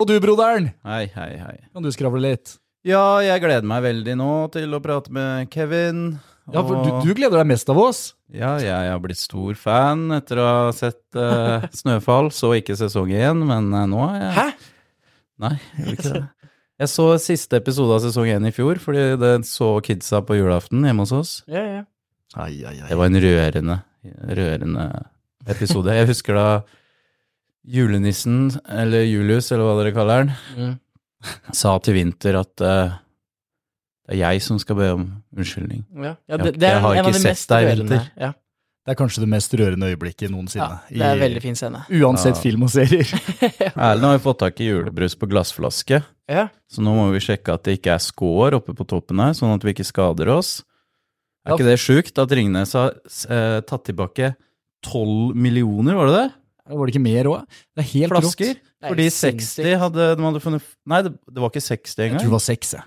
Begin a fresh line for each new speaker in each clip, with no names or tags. Og du, broderen,
Hei, hei, hei.
kan du skravle litt?
Ja, jeg gleder meg veldig nå til å prate med Kevin.
Ja, for
og-
du, du gleder deg mest av oss.
Ja, jeg har blitt stor fan etter å ha sett eh, Snøfall. Så ikke sesong én, men eh, nå er jeg
Hæ?
Nei, jeg gjorde ikke det. Jeg så siste episode av sesong én i fjor, fordi det så kidsa på julaften hjemme hos oss.
Ja, ja.
Ai, ai, ai.
Det var en rørende, rørende episode. Jeg husker da julenissen, eller Julius, eller hva dere kaller den,
Mm.
sa til Vinter at eh, det er jeg som skal be om unnskyldning.
Ja,
Jeg- jeg har ikke sett deg i vinter.
Ja,
Det er kanskje det mest rørende øyeblikket noensinne.
ja, det er en
i-
veldig fin scene.
Uansett
Ja.
film og serier.
Erlend har jo fått tak i julebrus på glassflaske,
Ja.
så nå må vi sjekke at det ikke er skår oppe på toppen her, sånn at vi ikke skader oss. Er
Ja.
ikke det sjukt at Ringnes har eh, tatt tilbake 12 millioner, var det det?
Var det ikke mer òg? Det er helt
Flasker?
rått.
Det er
Fordi
helt
60
sinnssykt.
hadde de hadde funnet Nei, det, det var ikke 60
Jeg
engang.
tror det var seks, jeg.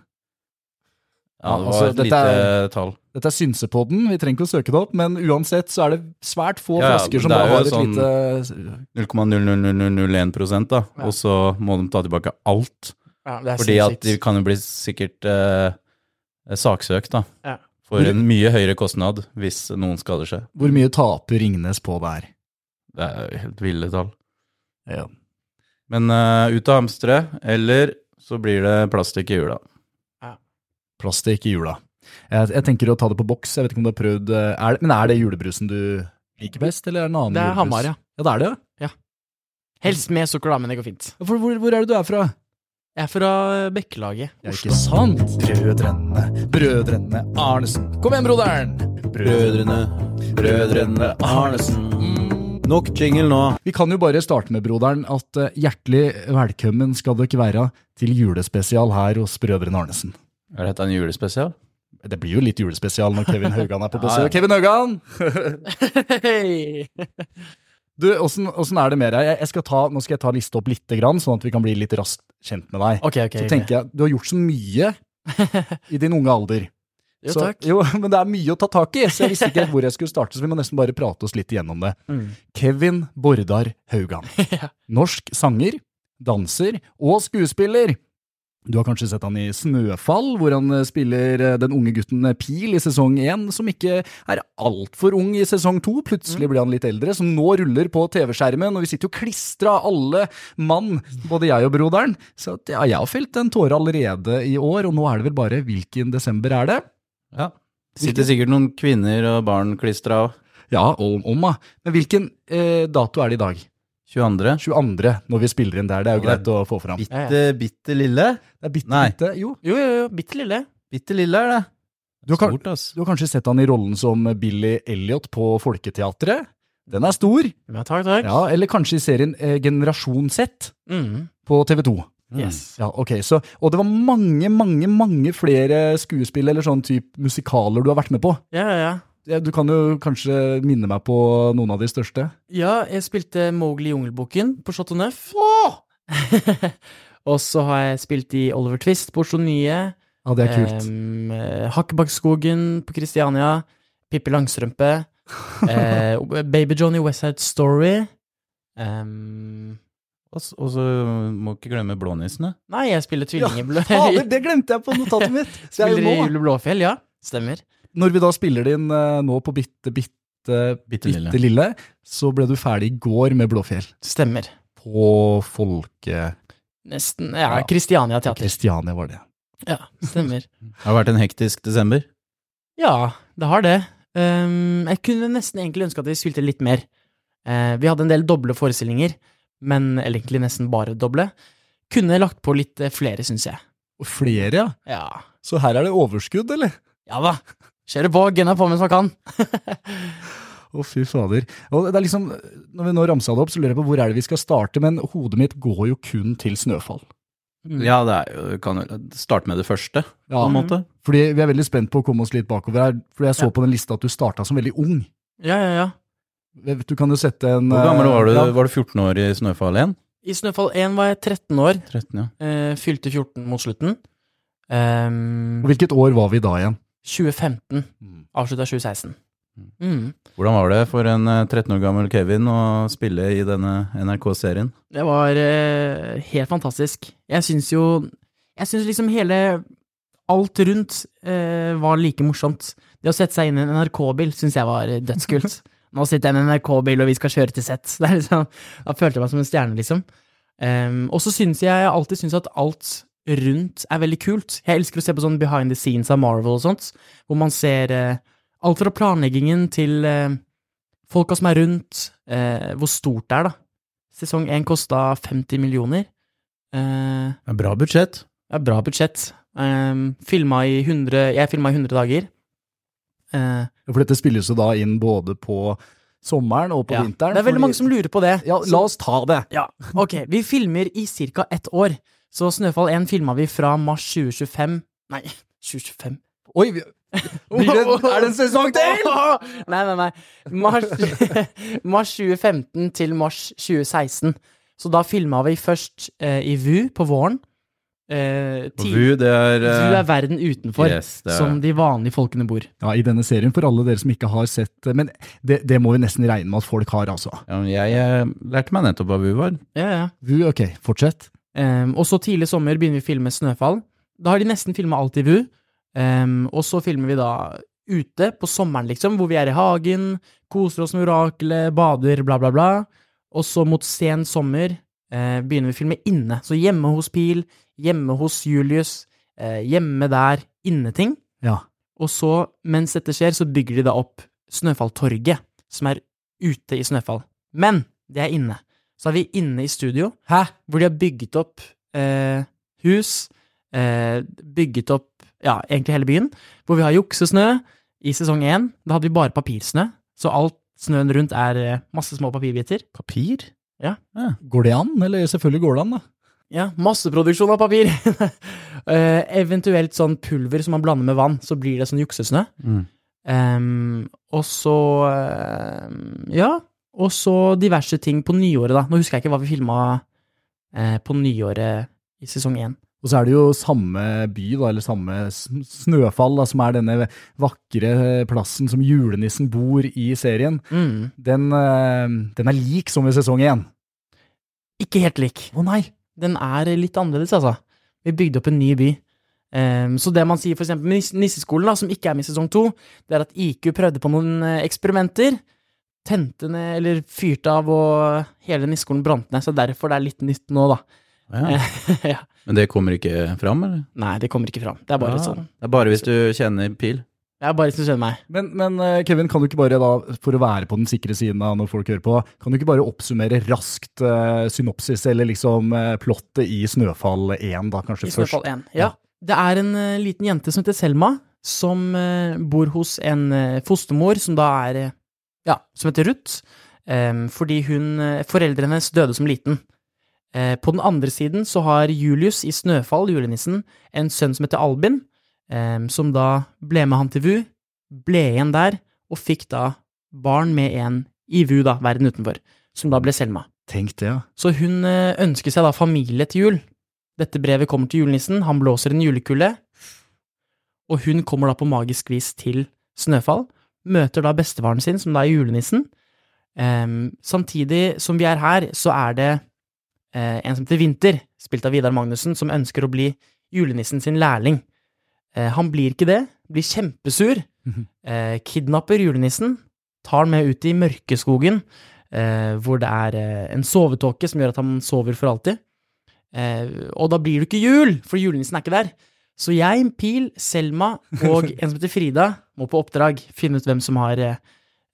Ja, det var
Altså,
et
dette
lite
er-
tall.
Dette er synsepodden, vi trenger ikke å søke det opp, men uansett så er det svært få
Ja, ja,
flasker som
det er
bare
jo
har et
sånn-
lite
0,00001 prosent, da.
Ja.
Og så må de ta tilbake alt.
Ja, det er
Fordi at
sinnssykt.
de kan jo bli sikkert eh, saksøkt, da.
Ja.
For en mye høyere kostnad hvis noen skader seg.
Hvor mye taper Ringnes på der?
Det er jo helt ville tall.
Ja.
Men eh, ut og hamstre, eller så blir det plastikk i jula.
Plastikk i jula. Jeg, jeg tenker å ta det på boks, jeg vet ikke om du har prøvd eh, er det, Men er det julebrusen du liker best, eller er det en annen
Det er
julebrus?
Hamar, ja.
Ja, det er det, ja.
Helst med sukker, da, men det går fint.
Ja, For hvor, hvor er det du er fra?
Jeg er fra eh, Bekkelaget.
Ja, ikke sant? Brødrene, brødrene Arnesen. Kom igjen, broderen!
brødrene Arnesen. Nok jingle nå.
Vi kan jo bare starte med, broderen, at eh, hjertelig velkommen skal dere være til julespesial her hos Brødrene Arnesen.
Er dette en julespesial?
Det blir jo litt julespesial når Kevin Haugan er på
Ja, ja.
besøk. Kevin Haugan!
Hei!
Du, åssen, åssen er det med deg? Jeg- Jeg skal ta, nå skal jeg ta liste opp lite grann, sånn at vi kan bli litt raskt kjent med deg.
Ok, ok.
Så tenker jeg, du har gjort så mye i din unge alder.
Jo,
så,
takk.
Jo, men det er mye å ta tak i, så jeg visste ikke helt hvor jeg skulle starte, så vi må nesten bare prate oss litt igjennom det.
Mm.
Kevin Bordar Haugan.
Ja.
Norsk sanger, danser og skuespiller. Du har kanskje sett han i Snøfall, hvor han eh, spiller eh, den unge gutten eh, Pil i sesong én, som ikke er altfor ung i sesong to.
Mm.
Plutselig blir han litt eldre, som nå ruller på TV-skjermen, og vi sitter jo klistra alle mann, både jeg og broderen. Så at, ja, jeg har felt en tåre allerede i år, og nå er det vel bare hvilken desember er det?
Ja. Sitter sikkert noen kvinner og barn klistra av.
Ja, om, om, da. Men hvilken eh, dato er det i dag?
22.
22. når vi spiller inn der, det er jo
Ja, det er
greit å få fram.
Bitte, bitte lille.
Det er bitte
Nei.
lite, jo.
Jo, jo, jo. Bitte lille.
Bitte lille er det.
Du har, kan-
Stort, ass.
du har kanskje sett han i rollen som Billy Elliot på Folketeatret? Den er stor.
Ja, takk, takk.
Ja, eller kanskje i serien eh, Generasjon Z
Mm.
på TV 2.
Yes.
Ja, ok, så, Og det var mange, mange mange flere skuespill eller sånn type musikaler du har vært med på.
Ja, ja, ja.
Ja, Du kan jo kanskje minne meg på noen av de største.
Ja, jeg spilte Mowgli i Jungelboken på Chateau Neuf. Og så har jeg spilt i Oliver Twist på Oslo Nye.
Ja, det er kult.
Em, eh, Hakkebakkeskogen på Kristiania. Pippi Langstrømpe. eh, Baby Johnny Westside Story. Em,
Og s- og så må ikke glemme blånissene.
nei, jeg spiller tvillingeblå.
Fader, det glemte jeg på notatet mitt! Det er jo
spiller i
nå.
Jule Blåfjell, ja. Stemmer.
Når vi da spiller det inn eh, nå på bitte, bitte,
Bitte lille.
bitte lille, så ble du ferdig i går med Blåfjell.
Stemmer.
På folke...
Nesten. Ja,
Ja.
Kristiania Teater.
Kristiania var det.
Ja, stemmer.
Det har vært en hektisk desember.
Ja, det har det. Ehm, jeg kunne nesten egentlig ønske at vi spilte litt mer. Eh, vi hadde en del doble forestillinger, men eller egentlig nesten bare doble. Kunne lagt på litt eh, flere, syns jeg.
Og flere, ja.
Ja.
Så her er det overskudd, eller?
ja da. Kjøre på, gunna på mens man kan.
Å, fy fader. Og det er liksom, når vi nå ramsa det opp, så lurer jeg på hvor er det vi skal starte, men hodet mitt går jo kun til snøfall.
Mm.
Ja, det er jo Kan jo starte med det første, på
Ja,
en måte.
fordi vi er veldig spent på å komme oss litt bakover her, fordi jeg så
Ja.
på den lista at du starta som veldig ung.
Ja, ja, ja.
Du kan jo sette en eh,
Hvor gammel var du?
Ja,
Var du 14 år i Snøfall igjen?
I Snøfall 1 var jeg 13 år,
13, ja.
eh, fylte 14 mot slutten. Ehm,
og Hvilket år var vi da igjen?
Mm.
2015 avslutta 2016. Mm.
Hvordan var det for en eh, 13 år gammel Kevin å spille i denne NRK-serien?
Det var eh, helt fantastisk. Jeg syns jo Jeg syns liksom hele Alt rundt eh, var like morsomt. Det å sette seg inn i en NRK-bil syns jeg var eh, dødskult. Nå sitter jeg i en NRK-bil, og vi skal kjøre til sett. Det er liksom, da følte jeg meg som en stjerne, liksom. Ehm, og så syns jeg jeg alltid synes at alt rundt er veldig kult. Jeg elsker å se på sånn behind the scenes av Marvel og sånt, hvor man ser eh, alt fra planleggingen til eh, folka som er rundt, eh, hvor stort det er, da. Sesong 1 kosta 50 millioner. Eh,
Det er Bra budsjett.
det er bra budsjett. Eh, filma i 100 Jeg filma i 100 dager. Eh,
For dette spilles jo da inn både på sommeren og på
ja.
vinteren.
Det er veldig
fordi-
mange som lurer på det.
Ja, la oss ta det.
Ja, ok. Vi filmer i ca. ett år. Så Snøfall 1 filma vi fra mars 2025 Nei, 2025
Oi, vi- blir det, er det en sesong til?
Nei, nei, nei. Mars, mars 2015 til mars 2016. Så da filma vi først eh, i VU på våren. Eh,
Og
ti-
VU, det er eh,
VU er verden utenfor,
yes, det er-
som de vanlige folkene bor.
Ja, I denne serien, for alle dere som ikke har sett eh, Men det, det må vi nesten regne med at folk har, altså.
ja, men Jeg eh, lærte meg nettopp hva VU var.
Ja, ja.
Du, ok, fortsett.
Ehm, og så tidlig sommer begynner vi å filme Snøfall. Da har de nesten filma alt i VU. Ehm, og så filmer vi da ute på sommeren, liksom, hvor vi er i hagen, koser oss med oraklet, bader, bla, bla, bla. Og så mot sen sommer eh, begynner vi å filme inne. Så hjemme hos Pil, hjemme hos Julius, eh, hjemme der, inneting.
Ja.
Og så, mens dette skjer, så bygger de da opp Snøfalltorget, som er ute i Snøfall. Men det er inne. Så er vi inne i studio,
Hæ?
hvor de har bygget opp eh, hus, eh, bygget opp ja, egentlig hele byen, hvor vi har juksesnø i sesong én. Da hadde vi bare papirsnø, så alt snøen rundt er eh, masse små papirbiter.
Papir?
Går det an? Eller selvfølgelig går det an, da.
Ja, masseproduksjon av papir! eh, eventuelt sånn pulver som man blander med vann, så blir det sånn juksesnø. Ehm, og så ehm, Ja. Og så diverse ting på nyåret, da. Nå husker jeg ikke hva vi filma eh, på nyåret i sesong én.
Og så er det jo samme by, da, eller samme sn- snøfall, da, som er denne vakre plassen som julenissen bor i serien.
Mm.
Den, eh, den er lik som i sesong én.
Ikke helt lik.
Å nei!
Den er litt annerledes, altså. Vi bygde opp en ny by. Ehm, så det man sier for eksempel med Nis- Nisseskolen, da, som ikke er med i sesong to, det er at IQ prøvde på noen eh, eksperimenter. Tente ned, eller fyrte av, og hele nisseskolen brant ned. Så derfor det er litt nytt nå, da.
Ja.
ja.
Men det kommer ikke fram, eller?
Nei, det kommer ikke fram. Det er bare
Ja.
sånn.
Det er bare hvis du kjenner pil.
Det er bare hvis du skjønner meg.
Men, men eh, Kevin, kan du ikke bare, da, for å være på den sikre siden av når folk hører på, kan du ikke bare oppsummere raskt eh, synopsis, eller liksom eh, plottet i Snøfall 1, da, kanskje
I Snøfall
først?
1. Ja. Det er en eh, liten jente som heter Selma, som eh, bor hos en eh, fostermor som da er eh, Ja, som heter Ruth. em, fordi hun eh, Foreldrene hennes døde som liten. Eh, på den andre siden så har Julius i Snøfall, julenissen, en sønn som heter Albin, em, som da ble med han til VU, ble igjen der, og fikk da barn med en i VU, da, verden utenfor, som da ble Selma.
Tenk det, ja.
Så hun eh, ønsker seg da familie til jul. Dette brevet kommer til julenissen, han blåser en julekule, og hun kommer da på magisk vis til Snøfall, møter da bestefaren sin, som da er julenissen. Em, samtidig som vi er her, så er det eh, en som heter Vinter, spilt av Vidar Magnussen, som ønsker å bli julenissen sin lærling. Eh, han blir ikke det, blir kjempesur,
Mhm.
eh, kidnapper julenissen, tar han med ut i mørkeskogen, eh, hvor det er eh, en sovetåke som gjør at han sover for alltid. Eh, og da blir det ikke jul, for julenissen er ikke der. Så jeg, Pil, Selma og en som heter Frida må på oppdrag finne ut hvem som har eh,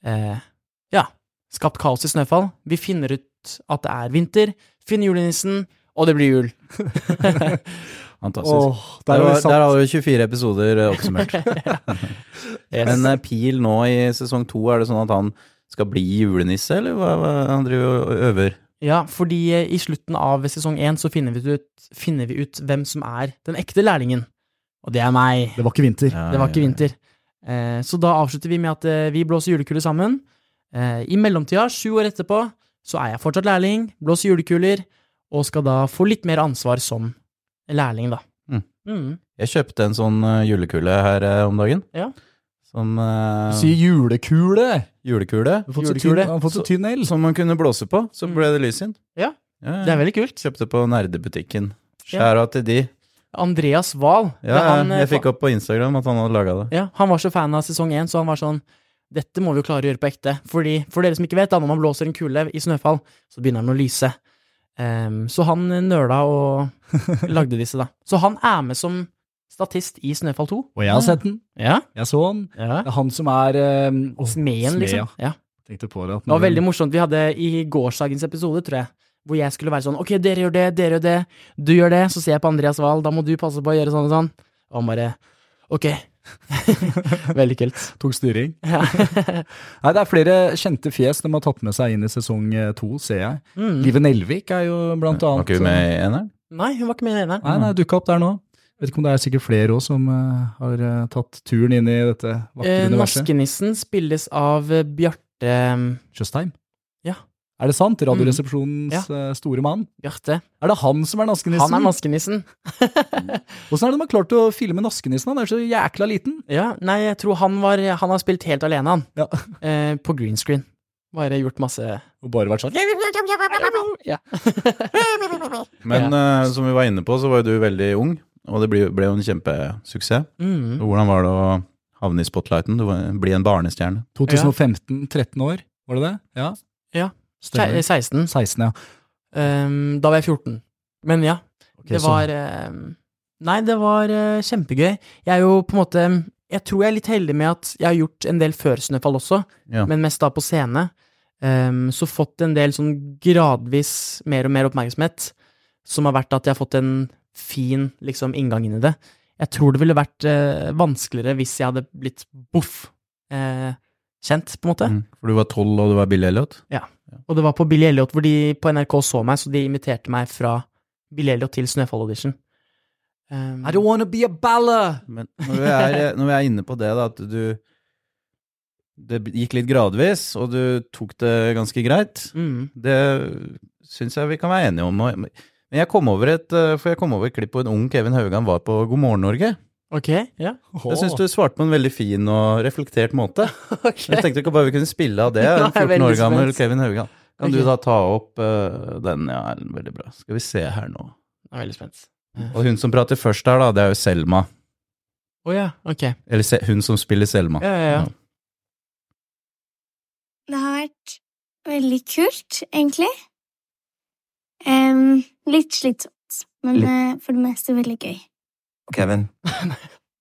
eh, ja, skapt kaos i Snøfall. Vi finner ut at det er vinter, finner julenissen, og det blir jul.
Fantastisk.
Åh,
der,
der var
var,
det sant.
der har vi 24 episoder eh, oppsummert. Men eh, Pil nå i sesong to, er det sånn at han skal bli julenisse, eller hva, hva han driver og øver?
Ja, fordi eh, i slutten av sesong én så finner vi, ut, finner vi ut hvem som er den ekte lærlingen. Og det er meg.
Det var ikke vinter.
Ja,
Det var ikke
ja, ja.
vinter. Eh, Så da avslutter vi med at eh, vi blåser julekule sammen. Eh, I mellomtida, sju år etterpå, så er jeg fortsatt lærling, blåser julekuler, og skal da få litt mer ansvar som lærling, da.
Mm.
Mm.
Jeg kjøpte en sånn eh, julekule her eh, om dagen.
Ja.
Som eh,
Si julekule!
julekule.
Han har fått så
Julekule.
tynn- Han har fått så tynn el.
Som man kunne blåse på. Så ble det lys inn.
Mm. Ja,
ja, ja.
Det er veldig kult.
Kjøpte på nerdebutikken.
Ja.
Skjæra til de.
Andreas Wahl.
Ja,
han, eh,
jeg fikk opp på Instagram at han hadde laga det.
ja, han var så fan av sesong én, så han var sånn Dette må vi jo klare å gjøre på ekte. Fordi, for dere som ikke vet, da når man blåser en kule i snøfall, så begynner den å lyse. Ehm, så han nøla og lagde disse, da. Så han er med som statist i Snøfall 2.
Og jeg har sett den.
Ja.
Jeg så den.
ja.
Det er han som er eh, å,
Smeden, liksom.
ja.
Ja.
Tenkte på det. at
Det var
når-
veldig morsomt. Vi hadde i gårsdagens episode, tror jeg, hvor jeg skulle være sånn Ok, dere gjør det, dere gjør det, du gjør det. Så ser jeg på Andreas Wahl, da må du passe på å gjøre sånn og sånn. Og han bare Ok. Veldig kult.
Tok styring.
Ja.
Nei, det er flere kjente fjes de har tatt med seg inn i sesong eh, to, ser jeg.
Mm.
Live Nelvik er jo blant
Var
annet eh,
ikke hun
eh,
med i eneren?
Nei, hun var ikke med i eneren.
Nei, nei, dukka opp der nå. Vet ikke om det er sikkert flere òg som eh, har eh, tatt turen inn i dette vakre
Eh,
universet.
Naskenissen spilles av eh, Bjarte ehm,
Tjøstheim.
Ja.
Er det sant? Radioresepsjonens eh, store mann.
Bjarte.
Er det han som er naskenissen?
Han er naskenissen.
Hvordan er det de har klart å filme naskenissen? Han er så jækla liten.
Ja, nei, jeg tror han var Han har spilt helt alene, han.
Ja.
Eh, på green screen. Bare gjort masse
Og bare vært sånn
Ja.
Men eh, som vi var inne på, så var jo du veldig ung, og det ble, ble jo en kjempesuksess.
Mm.
Hvordan var det å havne i spotlighten? Du var, bli en barnestjerne.
2015, 13 år, var det det? Ja.
Ja.
Stemmer.
16.
16, ja.
Ehm, da var jeg 14. Men ja,
Ok,
det
så-
var ehm, Nei, det var eh, kjempegøy. Jeg er jo på en måte Jeg tror jeg er litt heldig med at jeg har gjort en del før Snøfall også,
Ja.
men mest da på scene. Ehm, så fått en del sånn gradvis mer og mer oppmerksomhet, som har vært at jeg har fått en fin liksom inngang inn i det. Jeg tror det ville vært eh, vanskeligere hvis jeg hadde blitt boff eh, kjent, på en måte.
Mm. For du var tolv, og du var Bill Elliot?
Og det var på Billy Elliot, hvor de på NRK så meg, så de inviterte meg fra Billy Elliot til Snøfall Audition. Um,
I don't wanna be a baller!
Men når vi er, eh, når vi er inne på det, da, at du Det gikk litt gradvis, og du tok det ganske greit.
mm,
Det syns jeg vi kan være enige om. og- Men jeg kom over et, eh, for jeg kom over et klipp hvor en ung Kevin Haugan var på God morgen Norge.
ok, ja.
Jeg syns du svarte på en veldig fin og reflektert måte. Jeg tenkte ikke bare vi kunne spille av det.
Ja,
En
jeg er
14 år
veldig
gammel
spent.
Kevin Haugan. Kan du
Ok.
da ta opp eh, den? Ja, Ellen, veldig bra. Skal vi se her nå.
Jeg er veldig spent.
Og hun som prater først her, da, det er jo Selma.
Å ja, ok.
Eller se, hun som spiller Selma.
Ja, ja, ja.
Det har vært veldig kult, egentlig. Em, litt slitsomt, men eh, for det meste veldig gøy.
Kevin.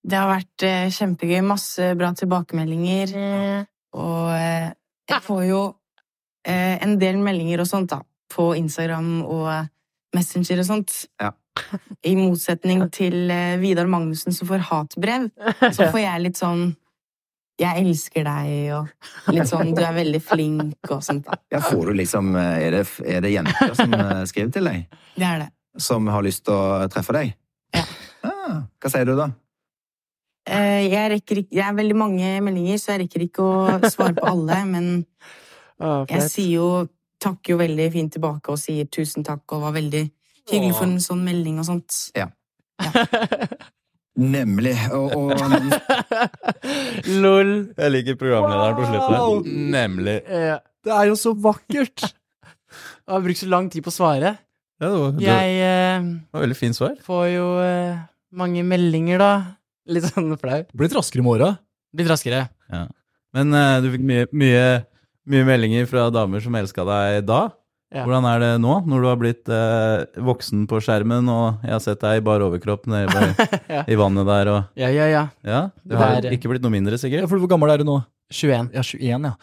Det har vært eh, kjempegøy. Masse bra tilbakemeldinger. Og eh, jeg får jo eh, en del meldinger og sånt da, på Instagram og Messenger og sånt.
Ja.
I motsetning til eh, Vidar Magnussen som får hatbrev, så får jeg litt sånn jeg elsker deg, og litt sånn du er veldig flink og sånt. da.
Ja, får du liksom, eh, er, det, er det jenter som eh, skriver til deg,
Det er det.
som har lyst til å treffe deg?
Ja.
Ah, hva sier du da?
Eh, Jeg rekker ikke, det er veldig mange meldinger, så jeg rekker ikke å svare på alle, men
Å,
Jeg
fett.
sier jo takker jo veldig fint tilbake og sier tusen takk og var veldig hyggelig for en sånn melding og sånt.
Nemlig. Og, og
Lol.
Jeg liker programlederen på slutten.
Wow!
her. Nemlig.
Eh,
Det er jo så vakkert!
jeg har brukt så lang tid på å svare.
Ja, det, var, det
Jeg eh,
var veldig fint svar.
får jo eh, mange meldinger, da. Litt sånn flau.
Blitt raskere med åra.
Litt raskere.
Men eh, du fikk mye, mye, mye meldinger fra damer som elska deg da.
Ja.
Hvordan er det nå, når du har blitt eh, voksen på skjermen, og jeg har sett deg i bar overkropp nede i-
Ja.
i vannet der, og
Ja, ja, ja.
Ja, du
Det
har
er-
ikke blitt noe mindre,
Ja,
sikkert.
for hvor gammel er du nå?
21.
Ja, 21, ja.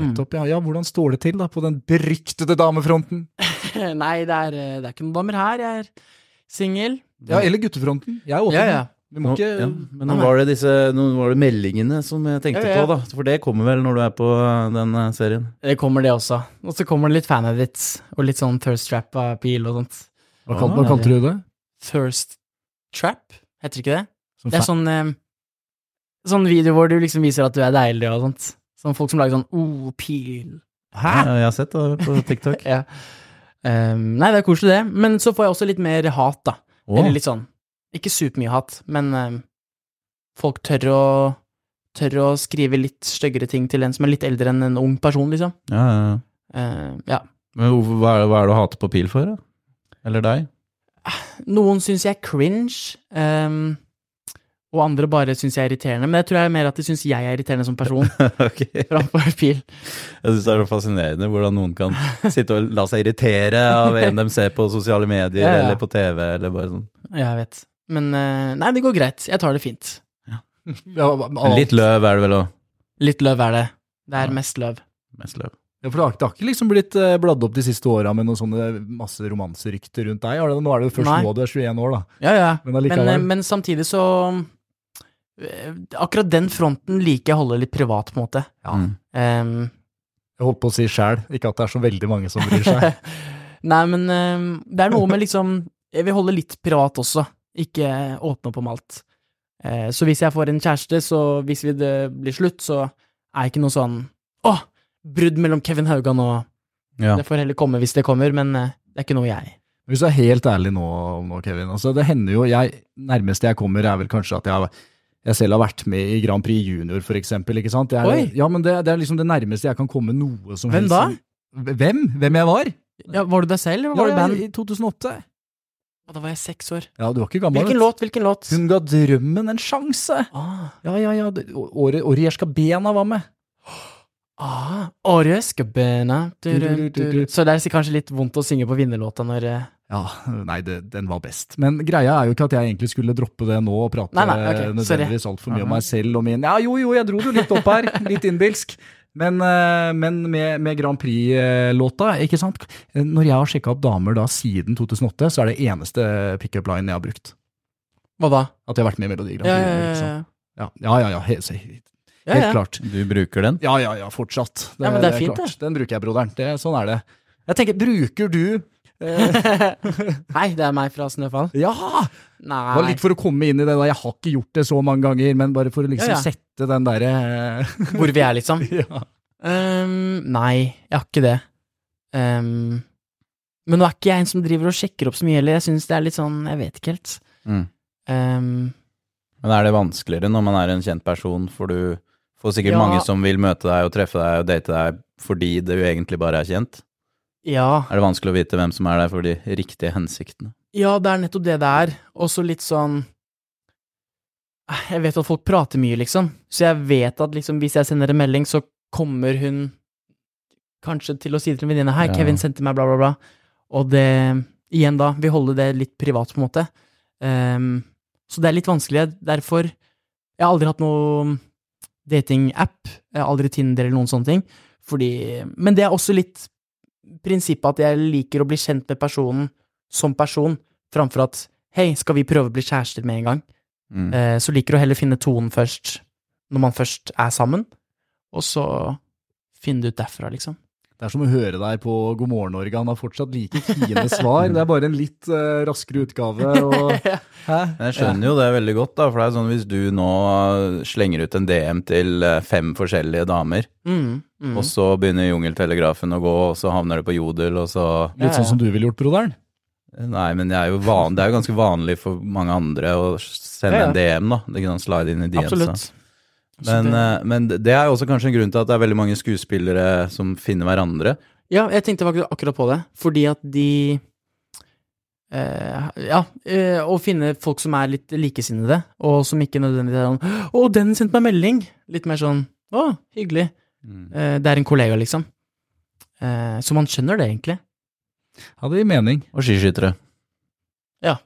Nettopp, ja. ja. Hvordan står det til da på den beryktede damefronten?
Nei, det er, eh, det er ikke noen damer her. Jeg er singel.
Ja, eller guttefronten. Jeg er åpen.
Ja, ja.
Vi må ikke
Nå, ja. Men nå
Nei, nei.
var, det disse, nå var det meldingene som jeg tenkte
Ja, ja.
på, da. For det kommer vel når du er på eh, den eh, serien.
Det kommer det også. Og så kommer det litt fan-edits og litt sånn thirst trap-pil og sånt.
Hva, kal hva kalte du det?
Thirst trap, heter ikke det?
Som
Det er
fan-
sånn, eh, sånn video hvor du liksom viser at du er deilig og sånt. Sånn folk som lager sånn oh, pil.
Ja, jeg har sett det på TikTok.
Ja. Um, nei, det er koselig det, men så får jeg også litt mer hat, da.
Å,
Eller litt sånn Ikke supermye hat, men um, folk tør ehm, å tør å skrive litt styggere ting til en som er litt eldre enn en ung person, liksom.
Ja, ja, ja.
Eh, ja.
Men hvorfor- hva er, det, hva er det å hate på Pil for, da? Eller deg?
Noen syns jeg er cringe, ehm, og andre bare syns jeg er irriterende. Men jeg tror jeg er mer at de syns jeg er irriterende som person.
ok.
framfor pil.
Jeg syns det er så fascinerende hvordan noen kan sitte og la seg irritere av en de ser på sosiale medier
Ja, ja.
eller på TV, eller bare sånn.
Jeg vet. Men eh, nei, det går greit. Jeg tar det fint.
Ja, men
Litt
alt-
løv er det vel òg.
Litt løv er det. Det er
Ja.
mest løv.
Mest løv.
Ja, for det har, det har ikke liksom blitt eh, bladd opp de siste åra med noen sånne masse romanserykter rundt deg? Har det, nå er det jo først
Nei.
nå du er 21 år, da.
Ja, ja.
Men
Men,
allikevel.
eh, men samtidig så eh, Akkurat den fronten liker jeg å holde litt privat, på en måte.
Mm.
Ehm,
jeg holdt på å si sjæl, ikke at det er så veldig mange som bryr seg.
nei, men ehm, det er noe med liksom Jeg vil holde litt privat også. Ikke åpne opp om alt. Eh, så hvis jeg får en kjæreste, så hvis vi det blir slutt, så er jeg ikke noe sånn Å! Brudd mellom Kevin Haugan og
Ja.
Det får heller komme hvis det kommer, men eh, det er ikke noe jeg
Hvis du er helt ærlig nå, nå Kevin, altså det hender jo jeg, Nærmeste jeg kommer, er vel kanskje at jeg, jeg selv har vært med i Grand Prix Junior, for eksempel. Ikke sant? Det er,
Oi.
Ja, men det, det er liksom det nærmeste jeg kan komme noe som
Hvem
helst.
da?
Hvem? Hvem jeg var?
ja, Var du deg selv, eller var
ja,
du band?
ja, I 2008.
Ja, da var jeg seks år.
Ja, du var ikke gammel.
Hvilken
vet du.
låt? Hvilken låt?
Hun ga drømmen en sjanse!
Ah,
Ja, ja, ja. det- å- Året Orieska Bena var med.
ah, Åre skabena du-du-du-du. Så det er kanskje litt vondt å synge på vinnerlåta når eh,
Ja, nei, det, den var best. Men greia er jo ikke at jeg egentlig skulle droppe det nå og prate
Nei, nei, ok,
nødvendigvis altfor mye om meg selv og min Ja, jo, jo, jeg dro det jo litt opp her. litt innbilsk. Men, eh, men med, med Grand Prix-låta, ikke sant. Når jeg har sjekka opp damer da siden 2008, så er det eneste pickup-line jeg har brukt.
Hva da?
At jeg har vært med i Melodi Grand
Ja,
Prix.
ja, ja,
liksom.
ja.
ja, ja, ja, ja, helt, helt
ja, ja.
klart.
Du bruker den?
Ja, ja, ja, fortsatt.
Ja, men det er fint,
klart. Den bruker jeg, broderen. Det, sånn er det. Jeg tenker, bruker du eh,
Hei, det er meg fra Snøfall.
Ja! Det var
Nei.
litt for å komme inn i det, da. Jeg har ikke gjort det så mange ganger, men bare for å liksom
Ja, ja.
sette den eh, derre
Hvor vi er, liksom.
ja.
Ehm, nei, jeg har ikke det. Ehm, men nå er ikke jeg en som driver og sjekker opp så mye heller. Jeg syns det er litt sånn Jeg vet ikke helt.
Mm.
Ehm,
Men er det vanskeligere når man er en kjent person, for du får sikkert
Ja.
mange som vil møte deg og treffe deg og date deg fordi det jo egentlig bare er kjent?
ja.
Er det vanskelig å vite hvem som er der for de riktige hensiktene?
ja, det er nettopp det det er. Også litt sånn Eh, Jeg vet at folk prater mye, liksom. Så jeg vet at liksom, hvis jeg sender en melding, så kommer hun kanskje til å si til en venninne 'Hei,
Ja.
Kevin sendte meg bla, bla, bla'. Og det Igjen, da. Vi holder det litt privat, på en måte. Ehm, så det er litt vanskelig. Derfor Jeg har aldri hatt noe datingapp. Jeg har aldri Tinder eller noen sånne ting. Fordi Men det er også litt prinsippet at jeg liker å bli kjent med personen som person, framfor at 'hei, skal vi prøve å bli kjærester med en gang'?
Mm.
Eh, så liker du å heller finne tonen først, når man først er sammen, og så finne det ut derfra, liksom.
Det er som å høre deg på God morgen, Norge. Han har fortsatt like fine svar. Det er bare en litt eh, raskere utgave. Og... Hæ?
Men Jeg skjønner jo det veldig godt, da, for det er sånn hvis du nå eh, slenger ut en DM til eh, fem forskjellige damer,
Mm, mm.
og så begynner jungeltelegrafen å gå, og så havner du på Jodel, og så
Litt sånn som du ville gjort, broderen.
Nei, men det er jo, van, det er jo ganske vanlig for mange andre å sende
Ja, ja.
en DM, da. Det kan slide inn i DM-sa.
Absolutt. Så
Men,
det-
eh, men det er jo også kanskje en grunn til at det er veldig mange skuespillere som finner hverandre.
Ja, jeg tenkte faktisk akkurat på det, fordi at de eh, Ja, eh, å finne folk som er litt likesinnede, og som ikke nødvendigvis er sånn 'Å, den sendte meg melding!' Litt mer sånn 'Å, hyggelig'. Eh, det er en kollega, liksom. Eh, så man skjønner det, egentlig.
Ja, det gir mening.
Og skiskyttere.
Ja,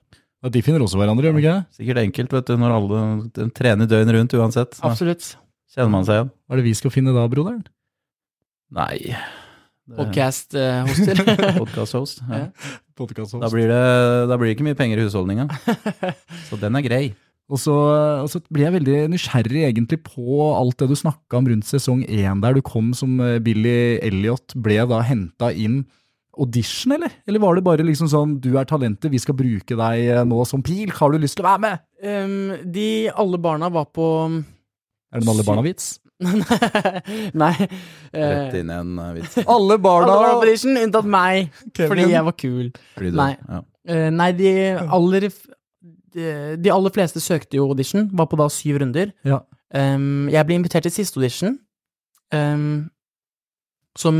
de finner også hverandre, gjør de ikke det?
Sikkert enkelt, vet du, når alle de trener døgnet rundt uansett. Så
Absolutt.
kjenner man seg igjen.
Hva er det vi skal finne da, broderen?
Nei.
Podcast-hoster.
Podcast-host. Ja.
Ja.
Da
Podcast-host.
blir, det, da blir det ikke mye penger i husholdninga. Så den er grei.
Og så, og så blir jeg veldig nysgjerrig egentlig på alt det du snakka om rundt sesong én, der du kom som eh, Billy Elliot. Ble da henta inn audition, eller? Eller var det bare liksom sånn du er talentet, vi skal bruke deg eh, nå som pil, har du lyst til å være med?
Ehm, de alle barna var på um,
Er det en alle barna-vits?
Nei.
Rett
eh,
inn i en eh, vits.
Alle
Alle
barna!
var på audition unntatt meg, fordi jeg var kul.
Fordi du-
Nei.
Ja.
Eh, nei, de aller f- de, de aller fleste søkte jo audition, var på da syv runder.
Ja.
Um, jeg ble invitert til siste audition, um, som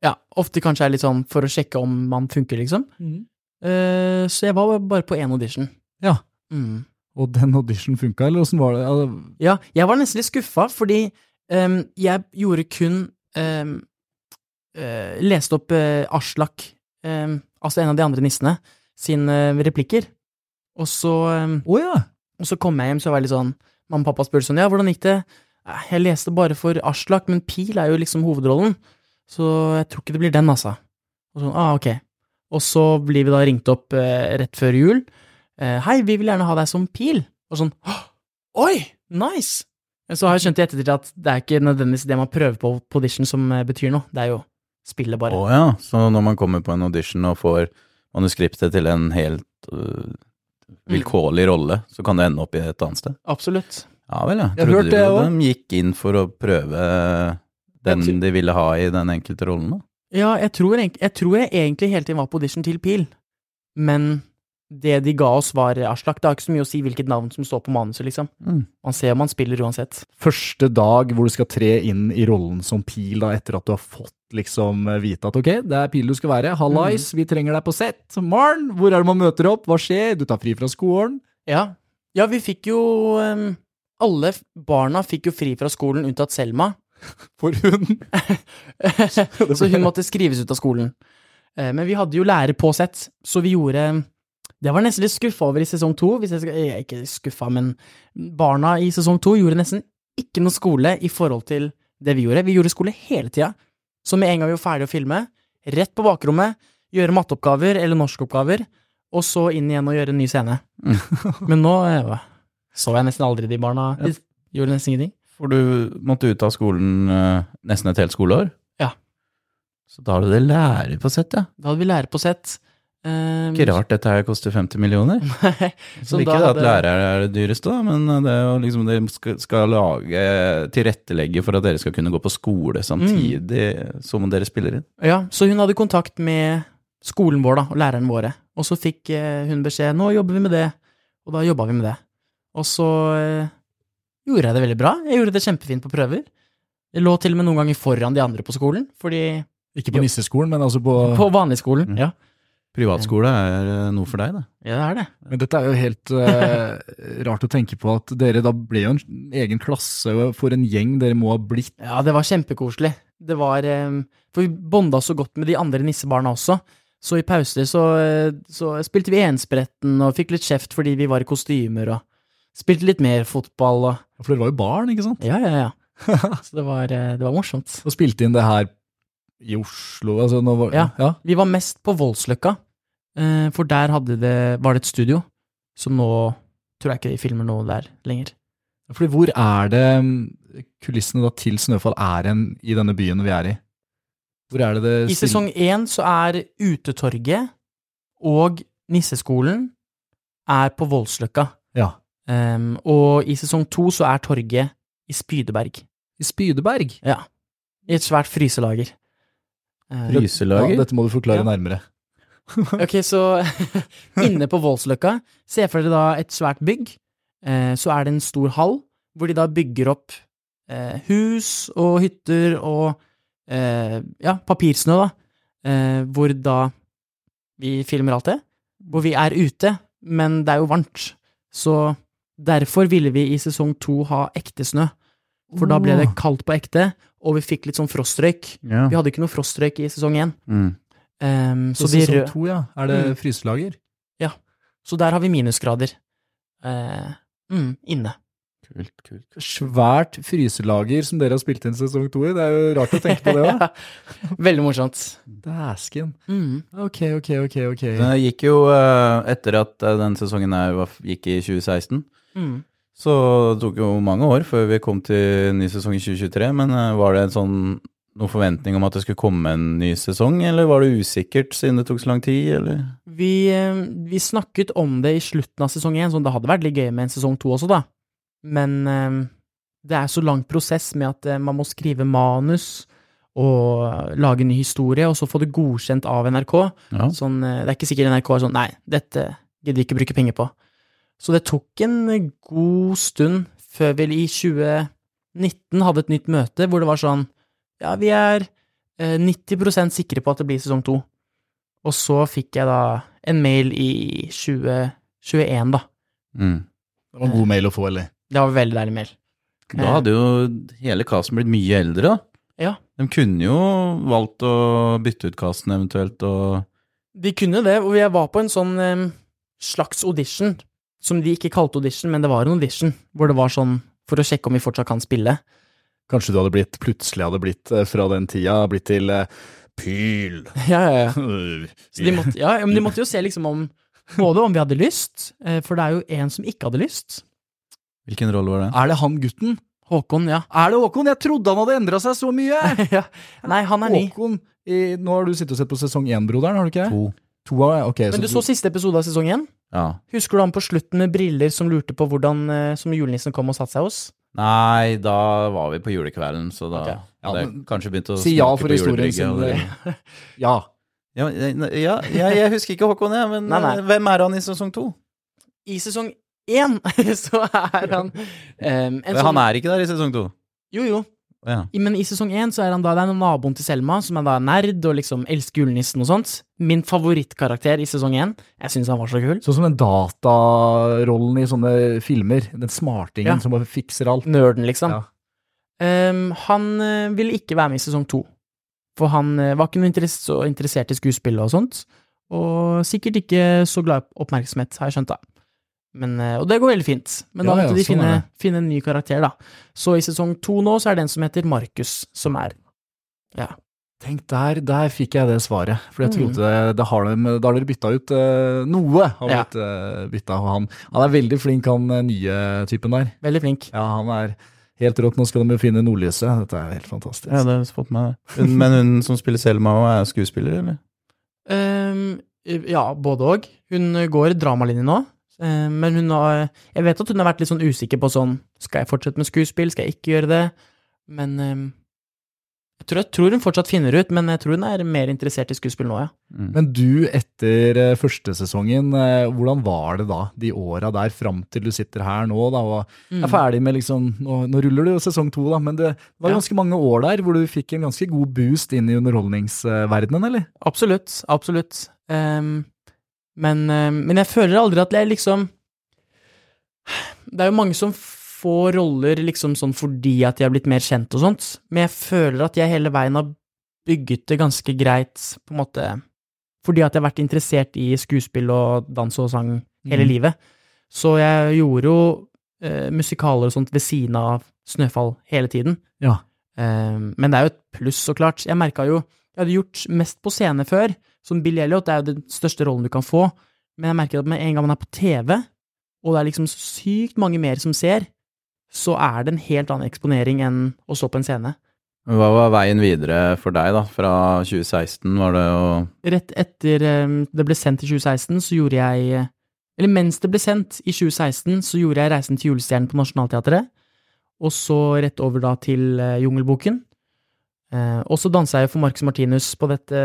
ja, ofte kanskje er litt sånn for å sjekke om man funker, liksom.
Mhm.
Eh, så jeg var bare på én audition.
Ja.
Mm.
Og den audition funka, eller åssen var det? Altså, Ja,
Ja, jeg var nesten litt skuffa, fordi ehm, jeg gjorde kun ehm, eh, Leste opp eh, Aslak, ehm, altså en av de andre nissene, sine eh, replikker. Og så, ehm,
Å ja!
og så kom jeg hjem, så var jeg litt sånn Mamma og pappa spurte sånn, ja, hvordan gikk det? «Eh, Jeg leste bare for Aslak, men Pil er jo liksom hovedrollen, så jeg tror ikke det blir den, altså. Og sånn, ah, ok. Og så blir vi da ringt opp eh, rett før jul. Eh, hei, vi vil gjerne ha deg som Pil. Og sånn, «Åh, oi, nice! Men Så har jeg skjønt i ettertid at det er ikke nødvendigvis det man prøver på på audition som eh, betyr noe, det er jo spillet
Å
bare.
ja, så når man kommer på en audition og får manuskriptet til en helt øh, vilkårlig rolle, så kan det ende opp i et annet sted?
Absolutt.
Ja vel, ja.
Jeg har hørt
Trodde du
det
at
også.
de gikk inn for å prøve den
Jeg tror-
de ville ha i den enkelte rollen, da?
Ja, jeg tror, egentlig- jeg tror jeg egentlig hele tiden var på audition til Pil, men det de ga oss var Aslak. Det har ikke så mye å si hvilket navn som står på manuset, liksom.
Mm.
Man ser om man spiller uansett.
Første dag hvor du skal tre inn i rollen som Pil, da, etter at du har fått liksom vite at ok, det er Pil du skal være, hallais, vi trenger deg på sett, morn, hvor er det man møter opp, hva skjer, du tar fri fra skolen,
Ja, ja vi fikk jo ehm, Alle f- barna fikk jo fri fra skolen unntatt Selma,
for hun
så hun måtte skrives ut av skolen. Eh, Men vi hadde jo lærer på sett, så vi gjorde Det var nesten litt skuffa over i sesong to. Hvis jeg skal, jeg er ikke skuffa, men barna i sesong to gjorde nesten ikke noe skole i forhold til det vi gjorde. Vi gjorde skole hele tida. Så med en gang vi var ferdig å filme, rett på bakrommet, gjøre matteoppgaver eller norskoppgaver, og så inn igjen og gjøre en ny scene. Men nå eh, så jeg nesten aldri de barna. De gjorde nesten ingenting.
For du måtte ut av skolen øh, nesten et helt skoleår?
Ja.
Så da har du det lærer på sett, ja.
Da hadde vi lærer på sett. Um,
Ikke rart dette her koster 50 millioner.
Så
Ikke det at
da hadde-
lærere er det dyreste, da, men det er jo liksom dere skal, skal lage, tilrettelegge for at dere skal kunne gå på skole samtidig som dere spiller inn.
Ja, så hun hadde kontakt med skolen vår da, og læreren våre. Og så fikk eh, hun beskjed nå jobber vi med det, og da jobba vi med det. Og så eh, gjorde jeg det veldig bra. Jeg gjorde det kjempefint på prøver. Jeg lå til og med noen ganger foran de andre på skolen, fordi
Ikke på
Jo.
nisseskolen, men altså på
På vanligskolen.
Mm.
Ja.
Privatskole er eh, noe for deg, da.
ja, det er det.
Men dette er jo helt eh, rart å tenke på at dere da ble jo en egen klasse for en gjeng dere må ha blitt.
Ja, det var kjempekoselig. Det var eh, For vi bonda så godt med de andre nissebarna også. Så i pauser så, eh, så spilte vi enspretten og fikk litt kjeft fordi vi var i kostymer og spilte litt mer fotball og
For dere var jo barn, ikke sant?
Ja, ja, ja. Så det var, eh, det var morsomt.
Og spilte inn det her i Oslo. Altså, nå var,
Ja.
ja.
Vi var mest på Voldsløkka, eh, for der hadde det, var det et studio, som nå tror jeg ikke de filmer noe der lenger.
Fordi hvor er det mm, kulissene da til Snøfall er hen i denne byen vi er i? Hvor er det det
I
stille-
sesong én så er Utetorget og Nisseskolen er på Voldsløkka.
Ja.
Em, og i sesong to så er torget i Spydeberg.
I Spydeberg.
Ja. I et svært fryselager. Eh,
Ja,
Fryselager?
dette må du forklare
Ja.
nærmere.
Ok, så inne på Voldsløkka, se for dere da et svært bygg. Eh, så er det en stor hall, hvor de da bygger opp eh, hus og hytter og eh, ja, papirsnø, da. Eh, hvor da vi filmer alt det. Hvor vi er ute, men det er jo varmt. Så derfor ville vi i sesong to ha ekte snø. For da ble det kaldt på ekte, og vi fikk litt sånn frostrøyk.
Ja.
Vi hadde ikke noe frostrøyk i sesong én.
Mm.
Em,
Så, Mm.
så de
sesong
rø-
to, ja. Er det fryselager?
Så der har vi minusgrader. Eh, mm, inne.
Kult, kult.
Svært fryselager som dere har spilt inn sesong to i. Det er jo rart å tenke på det òg.
Veldig morsomt.
Dæsken.
Mm.
Ok, ok, ok. ok.
Det gikk jo eh, etter at eh, den sesongen her var- gikk i 2016.
Mm.
Så det tok jo mange år før vi kom til ny sesong i 2023, men eh, var det en sånn noen forventning om at det skulle komme en ny sesong, eller var det usikkert siden det tok så lang tid, eller?
Vi, eh, vi snakket om det i slutten av sesong én, så det hadde vært litt gøy med en sesong to også, da. Men eh, det er så lang prosess med at eh, man må skrive manus og lage ny historie, og så få det godkjent av NRK.
Ja.
Sånn, eh, det er ikke sikkert NRK er sånn Nei, dette gidder vi ikke bruke penger på. Så det tok en god stund før vi i 2019 hadde et nytt møte hvor det var sånn Ja, vi er eh, 90 sikre på at det blir sesong to. Og så fikk jeg da en mail i 2021, da.
Mm.
Det var en god mail å få, eller?
Det var en veldig deilig mail.
Da hadde jo hele casten blitt mye eldre, da.
Ja.
De kunne jo valgt å bytte ut casten eventuelt, og
De kunne det, og jeg var på en sånn em, slags audition, som de ikke kalte audition, men det var en audition, hvor det var sånn for å sjekke om vi fortsatt kan spille.
Kanskje du hadde blitt, plutselig hadde blitt eh, fra den tida, blitt til eh, Pyl.
Ja, ja, ja. Så de
De
måtte, ja, ja, men de måtte jo se liksom om både om vi hadde lyst, eh, for det er jo en som ikke hadde lyst.
hvilken rolle var det?
Er det han gutten?
Håkon, ja.
Er det Håkon? Jeg trodde han hadde endra seg så mye!
ja. Nei, han er ny.
Håkon, i, nå har du sittet og sett på sesong én, broderen, har du ikke det?
To.
To av, ok.
Men du så siste episode av sesong én?
Ja.
Husker du han på slutten med briller som lurte på hvordan eh, som julenissen kom og satte seg hos?
Nei, da var vi på julekvelden, så da
Ok.
Ja,
det
men-
kanskje begynte å
Si ja
snoke
for
på
historien
julebrygget
sin.
allerede.
eh, Ja.
Ja, men- ja jeg, jeg husker ikke Håkon, jeg, men
Nei, nei.
eh, hvem er han i sesong to?
I sesong én så er han em, en
Han
sånn
er ikke der i sesong to.
Jo, jo.
Ja.
I- Men i sesong én så er han da det er naboen til Selma, som er da nerd og liksom elsker julenissen og sånt. Min favorittkarakter i sesong én. Jeg syns han var så kul.
Sånn som den datarollen i sånne filmer. Den smartingen
Ja.
som bare fikser alt.
Nerden, liksom.
Ja.
Ehm, han eh, ville ikke være med i sesong to. For han eh, var ikke noe interess så interessert i skuespillet og sånt. Og sikkert ikke så glad i oppmerksomhet, har jeg skjønt, da. Men, eh, og det går veldig fint. Men da
Ja, ja,
måtte de
sånn er
finne,
det.
finne en ny karakter, da. Så i sesong to nå så er det en som heter Markus, som er
Tenk, der, der fikk jeg det svaret. For jeg
Mm.
trodde det har dem, Da har dere bytta ut eh, noe. Har
Ja.
blitt eh, bytta av han. Han er veldig flink, han eh, nye typen der.
veldig flink.
Ja, han er helt rått. Nå skal de jo finne nordlyset. Dette er helt fantastisk.
Ja, det har jeg fått med meg. Men hun som spiller Selma, og er skuespiller, eller?
Ehm, ja, både òg. Hun går dramalinje nå. ehm, Men hun har Jeg vet at hun har vært litt sånn usikker på sånn Skal jeg fortsette med skuespill? Skal jeg ikke gjøre det? Men ehm, jeg tror, jeg tror hun fortsatt finner ut, men jeg tror hun er mer interessert i skuespill nå, ja.
Men du, etter eh, første sesongen, eh, hvordan var det da? De åra der fram til du sitter her nå, da, og er ferdig med liksom Nå, nå ruller det jo sesong to, da, men det var
Ja.
ganske mange år der hvor du fikk en ganske god boost inn i underholdningsverdenen, eller?
Absolutt. Absolutt. Ehm, men, ehm, men jeg føler aldri at jeg liksom Det er jo mange som får roller liksom sånn fordi at de har blitt mer kjent og sånt, men jeg føler at jeg hele veien har bygget det ganske greit, på en måte Fordi at jeg har vært interessert i skuespill og dans og sang hele
Mm.
livet. Så jeg gjorde jo eh, musikaler og sånt ved siden av Snøfall hele tiden.
Ja.
Eh, men det er jo et pluss, så klart. Jeg merka jo Jeg hadde gjort mest på scene før, som Bill Elliot, det er jo den største rollen du kan få, men jeg merker at med en gang man er på TV, og det er liksom sykt mange mer som ser, så er det en helt annen eksponering enn å stå på en scene.
Hva var veien videre for deg, da? Fra 2016 var det å
Rett etter eh, det ble sendt i 2016, så gjorde jeg Eller mens det ble sendt i 2016, så gjorde jeg Reisen til julestjernen på Nationaltheatret. Og så rett over da til eh, Jungelboken. Eh, Og så dansa jeg for Marcus Martinus på dette,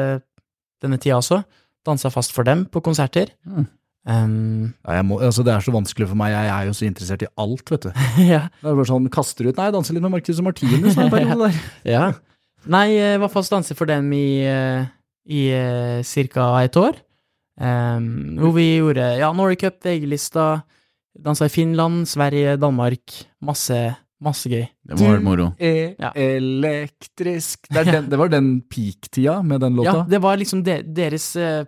denne tida også. Dansa fast for dem på konserter.
Mm.
Um,
Ja, jeg må, altså, det er så vanskelig for meg, jeg er jo så interessert i alt, vet du.
ja.
Det er bare sånn, kaster ut Nei, danser litt med Marcus og sånn Martinus en periode der.
ja. Nei, jeg var fast danser for dem i, eh, i eh, cirka et år. Em, hvor vi gjorde ja, Norway Cup, VG-lista, dansa i Finland, Sverige, Danmark. Masse, masse gøy.
Det må ha vært moro.
Ja.
E, Elektrisk det, er den, det var den peak-tida med den
Ja,
låta.
det var liksom de, deres eh,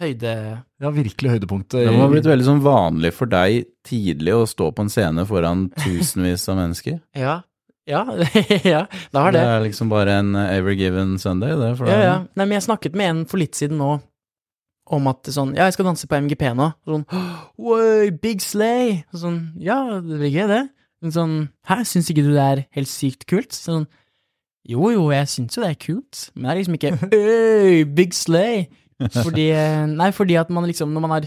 høyde...
Ja, virkelig høydepunktet.
Det må ha blitt veldig sånn vanlig for deg tidlig å stå på en scene foran tusenvis av mennesker.
Ja. Ja, ja det har
Det
det.
er liksom bare en eh, every given Sunday, det. For
Ja,
deg.
ja. Nei, men jeg snakket med en for litt siden nå om at det sånn Ja, jeg skal danse på MGP nå. Sånn Oi, Big Slay! Og Sånn Ja, det blir gøy, det. Men sånn Hæ, syns ikke du det er helt sykt kult? Sånn Jo, jo, jeg syns jo det er kult, men det er liksom ikke Øy, Big Slay! Fordi eh, Nei, fordi at man liksom, når man har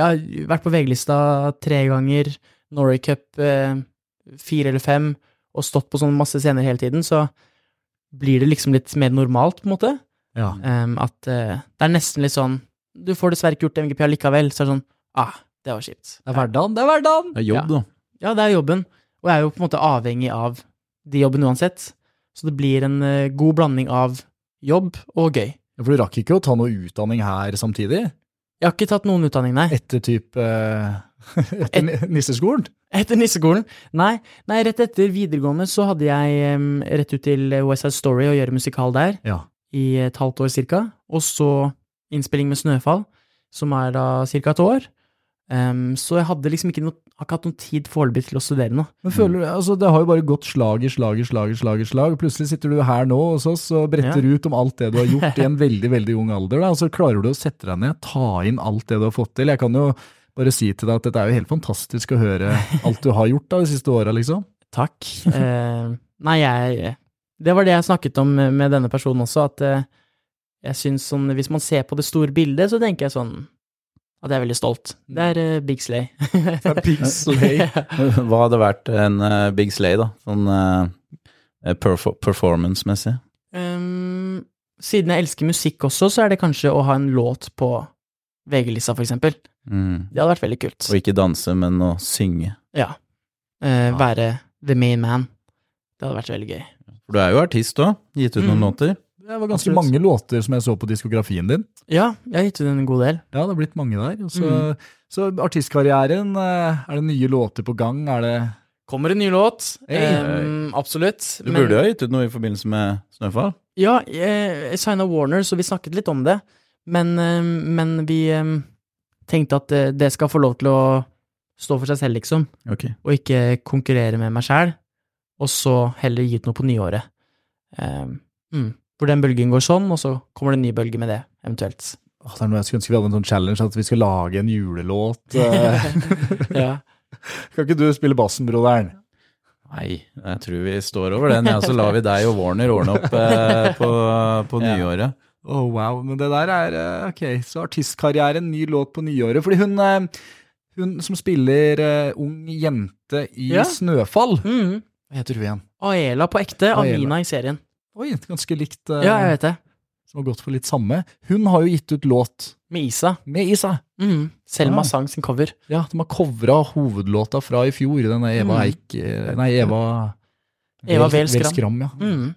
ja, vært på VG-lista tre ganger, Norway Cup eh, fire eller fem, og stått på sånn masse scener hele tiden, så blir det liksom litt mer normalt, på en måte.
Ja.
Ehm, at eh, det er nesten litt sånn Du får dessverre ikke gjort MGP allikevel, så er det sånn Ah, det var kjipt.
Det er hverdagen, det er hverdagen!
Det er jobb, da.
Ja, det er jobben. Og jeg er jo på en måte avhengig av de jobbene uansett. Så det blir en eh, god blanding av jobb og gøy.
Ja, For du rakk ikke å ta noe utdanning her samtidig?
Jeg har ikke tatt noen utdanning, nei.
Etter type eh, Etter nisseskolen?
Etter nisseskolen? Nei, nei, rett etter videregående så hadde jeg em, rett ut til West Side Story og gjøre musikal der
Ja.
i et halvt år cirka. Og så innspilling med Snøfall, som er da cirka et år. Em, så jeg hadde liksom ikke, noe, har ikke hatt noen tid foreløpig til å studere noe.
Men føler du, altså Det har jo bare gått slag i slag i slag i slag. i slag. Plutselig sitter du her nå hos oss og bretter ut om alt det du har gjort i en veldig veldig ung alder. da, og Så klarer du å sette deg ned, ta inn alt det du har fått til. Jeg kan jo bare si til deg at dette er jo helt fantastisk å høre alt du har gjort da de siste åra, liksom.
Takk. Eh, nei, jeg Det var det jeg snakket om med denne personen også, at eh, jeg syns sånn Hvis man ser på det store bildet, så tenker jeg sånn at jeg er veldig stolt. Det er eh, Big Slay.
Big Slay.
Hva hadde vært en eh, Big Slay, da? Sånn eh, perfo performance-messig?
Um, siden jeg elsker musikk også, så er det kanskje å ha en låt på VG-lista, for eksempel.
Mm.
Det hadde vært veldig kult.
Og ikke danse, men å synge.
Ja. Eh, være the main man. Det hadde vært veldig gøy.
For du er jo artist òg. Gitt ut noen
Mm.
låter.
Det var ganske
Absolutt.
mange låter som jeg så på diskografien din.
Ja, jeg har gitt ut en god del.
Ja, det har blitt mange der. og Så, så artistkarrieren, eh, er det nye låter på gang? Er det
Kommer en ny låt.
Hey.
Um, absolutt.
Du burde jo ha gitt ut noe i forbindelse med Snøfall.
Ja, eh, jeg signa Warner, så vi snakket litt om det. Men, eh, men vi eh, tenkte at eh, det skal få lov til å stå for seg selv, liksom.
Ok.
Og ikke konkurrere med meg sjæl. Og så heller gi ut noe på nyåret. Eh, mm. For den bølgen går sånn, og så kommer det en ny bølge med det, eventuelt.
Åh, det er noe jeg skulle ønske vi hadde en sånn challenge, at vi skal lage en julelåt. eh.
Ja.
kan ikke du spille bassen, broderen?
Nei, jeg tror vi står over den. Ja, så lar vi deg og Warner ordne opp eh, på, på nyåret.
Å, Oh, wow. Men det der er eh, Ok, så artistkarrieren, ny låt på nyåret. Fordi hun, eh, hun som spiller eh, ung jente i
Ja.
Snøfall
Mm.
Hva heter hun igjen?
Aela på ekte,
Aela.
Amina i serien.
Oi, ganske likt. eh,
Ja, jeg vet det.
Som har gått for litt samme. Hun har jo gitt ut låt
Med Isa.
med Isa.
Mm.
Ah.
Selma sang sin cover.
Ja, de har covra hovedlåta fra i fjor, denne Eva
Mm.
Eik eh, Nei, Eva
Eva Vel Skram.
Skram. Ja.
Mm.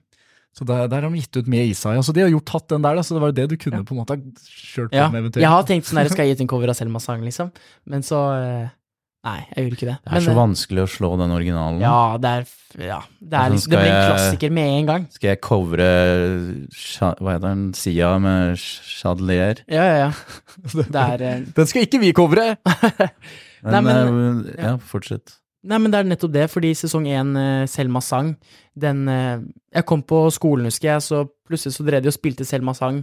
Så der, der har de gitt ut med Isa. Ja. Så de har gjort tatt den der, da, så det var jo det du kunne
Ja.
på en måte ha kjørt på
Ja,
med eventuelt.
jeg har tenkt sånn her, skal jeg gi ut en cover av Selmas sang, liksom? Men så eh, Nei, jeg gjorde ikke det.
Det er så
eh,
vanskelig å slå den originalen.
Ja, det er, ja,
Altså,
det, er liksom, det
skal
blir en
jeg-
klassiker med en gang.
Skal jeg covre Sha- Hva heter den? Sia med Chadelier?
Ja, ja, ja. Det er, eh,
Den skal ikke vi covre!
Nei, men-
eh, ja, fortsett.
nei, men det er nettopp det, fordi sesong én, eh, Selmas sang, den eh, Jeg kom på skolen, husker jeg, så plutselig så drev de og spilte Selmas sang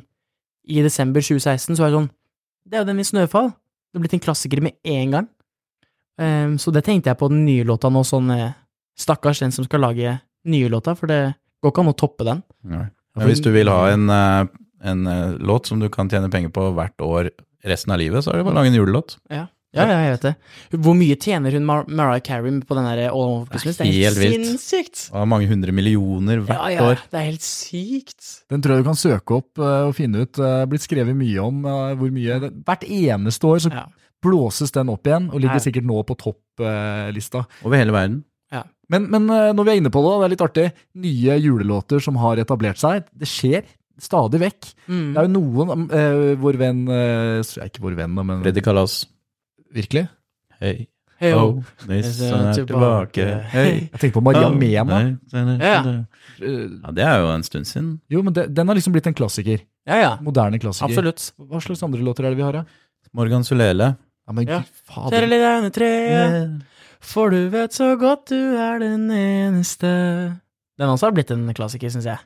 i desember 2016, så var jeg sånn Det er jo den i Snøfall. Det er blitt en klassiker med en gang. Eh, så det tenkte jeg på den nye låta nå, sånn eh, Stakkars den som skal lage nye låta, for det går ikke an å toppe den.
Nei. Men hvis du vil ha en, eh, en eh, låt som du kan tjene penger på hvert år resten av livet, så er det bare å lage en julelåt.
Ja, ja, jeg vet det. Hvor mye tjener hun Mar Mariah Carey på den der All Over Christmas? Det er helt,
helt vilt.
sinnssykt!
Det er mange hundre millioner hvert
Ja, ja,
år.
det er helt sykt.
Den tror jeg du kan søke opp eh, og finne ut. Uh, blitt skrevet mye om eh, hvor mye det, Hvert eneste år så
Ja.
blåses den opp igjen, og
Ja.
ligger sikkert nå på topplista.
Over hele verden.
men, men eh, når vi er inne på det, det er litt artig. Nye julelåter som har etablert seg. Det skjer stadig vekk.
Mm.
Det er jo noen eh, Vår venn eh, så- Ikke vår venn, da, men
Freddy Kalas.
Virkelig?
Hei,
Hei,
ho,
ho.
nissen er tilbake. Hei.
Jeg tenker på Maria
ho,
Mena.
nissen er
Ja.
tilbake.
Eh,
Ja, det er jo en stund siden.
Jo, men det, den har liksom blitt en klassiker.
Ja, ja.
Moderne klassiker.
Absolutt.
Hva slags andre låter er det vi har, da?
Morgan Sulele.
Ja, men
Ja.
gud fader.
Kjære lille Aune Tre, for du vet så godt du er den eneste Den også har blitt en klassiker, syns jeg.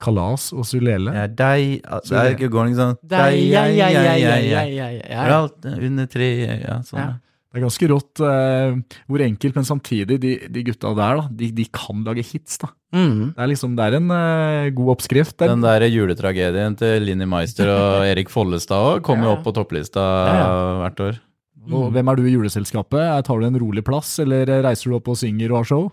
Kalas og Sulele.
Ja, deg Det er ikke går liksom
Deg, jeg, jeg, jeg, jeg, jeg, jeg,
For
jeg.
alt eh, under tre Ja, sånn.
Ja.
Ja.
Det er ganske rått eh, hvor enkelt, men samtidig, de, de gutta der, da, de, de kan lage hits, da.
Mm.
Det er liksom, det er en eh, god oppskrift. Det er,
Den der juletragedien til Linni Meister og Erik Follestad også kommer jo
Ja.
opp på topplista
Ja,
hvert år.
og, hvem er du i juleselskapet? Eh, Tar du en rolig plass, eller eh, reiser du opp og synger og har show?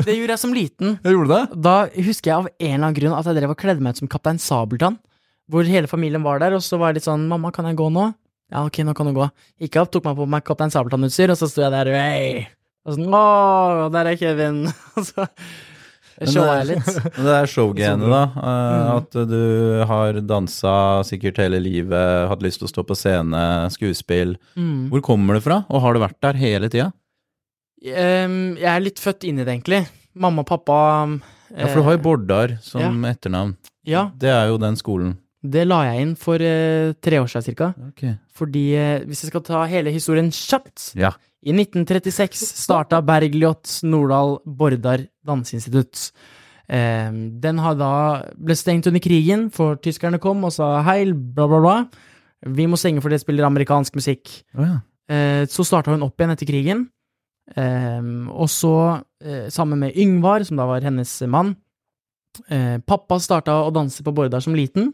Det gjorde jeg som liten.
Jeg gjorde det.
Da husker jeg av en eller annen grunn at jeg drev og kledde meg ut som Kaptein Sabeltann. Hvor hele familien var der, og så var jeg litt sånn 'Mamma, kan jeg gå nå?' Ja, ok, nå kan du gå. Gikk jeg opp, tok meg på meg Kaptein Sabeltann-utstyr, og så sto jeg der og Og sånn Å, der er Kevin! Og så showa
eh,
jeg litt. Mm.
Men Det er showgenet, da. eh, At du har dansa sikkert hele livet, hatt lyst til å stå på scene, skuespill.
Mm.
Hvor kommer det fra, og har det vært der hele tida?
Ehm, jeg er litt født inn i det, egentlig. Mamma og pappa eh,
Ja, for du har jo Bårdar som etternavn.
Ja,
Det er jo den skolen.
det la jeg inn for eh, tre år siden cirka.
Ok.
Fordi eh, hvis jeg skal ta hele historien kjapt
Ja.
I 1936 starta Bergljot Nordahl Bordar Danseinstitutt. Eh, Den har da ble stengt under krigen, for tyskerne kom og sa hei, bla, bla, bla. Vi må stenge for det spiller amerikansk musikk.
Å ja.
Eh, Så starta hun opp igjen etter krigen. Ehm, og så, eh, sammen med Yngvar, som da var hennes mann eh, Pappa starta å danse på Bordar som liten.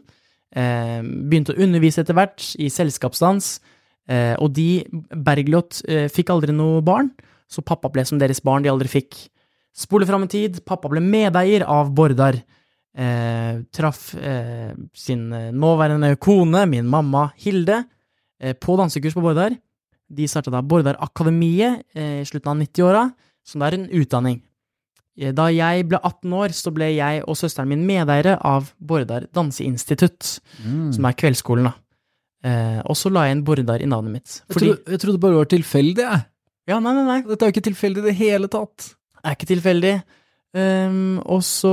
Eh, begynte å undervise etter hvert i selskapsdans. Eh, og de, Bergljot, eh, fikk aldri noe barn, så pappa ble som deres barn de aldri fikk. Spole fram i tid, pappa ble medeier av Bordar. Eh, traff eh, sin eh, nåværende kone, min mamma Hilde, eh, på dansekurs på Bordar. De starta da Bordar-akademiet eh, i slutten av 90-åra, som da er en utdanning. Eh, Da jeg ble 18 år, så ble jeg og søsteren min medeiere av Bordar danseinstitutt,
Mm.
som er kveldsskolen, da. Eh, og så la jeg inn Bordar i navnet mitt.
Jeg,
Fordi
trodde, jeg trodde bare det var tilfeldig, jeg.
Ja, nei, nei, nei.
Dette er jo ikke tilfeldig i det hele tatt.
er ikke tilfeldig. Um, og så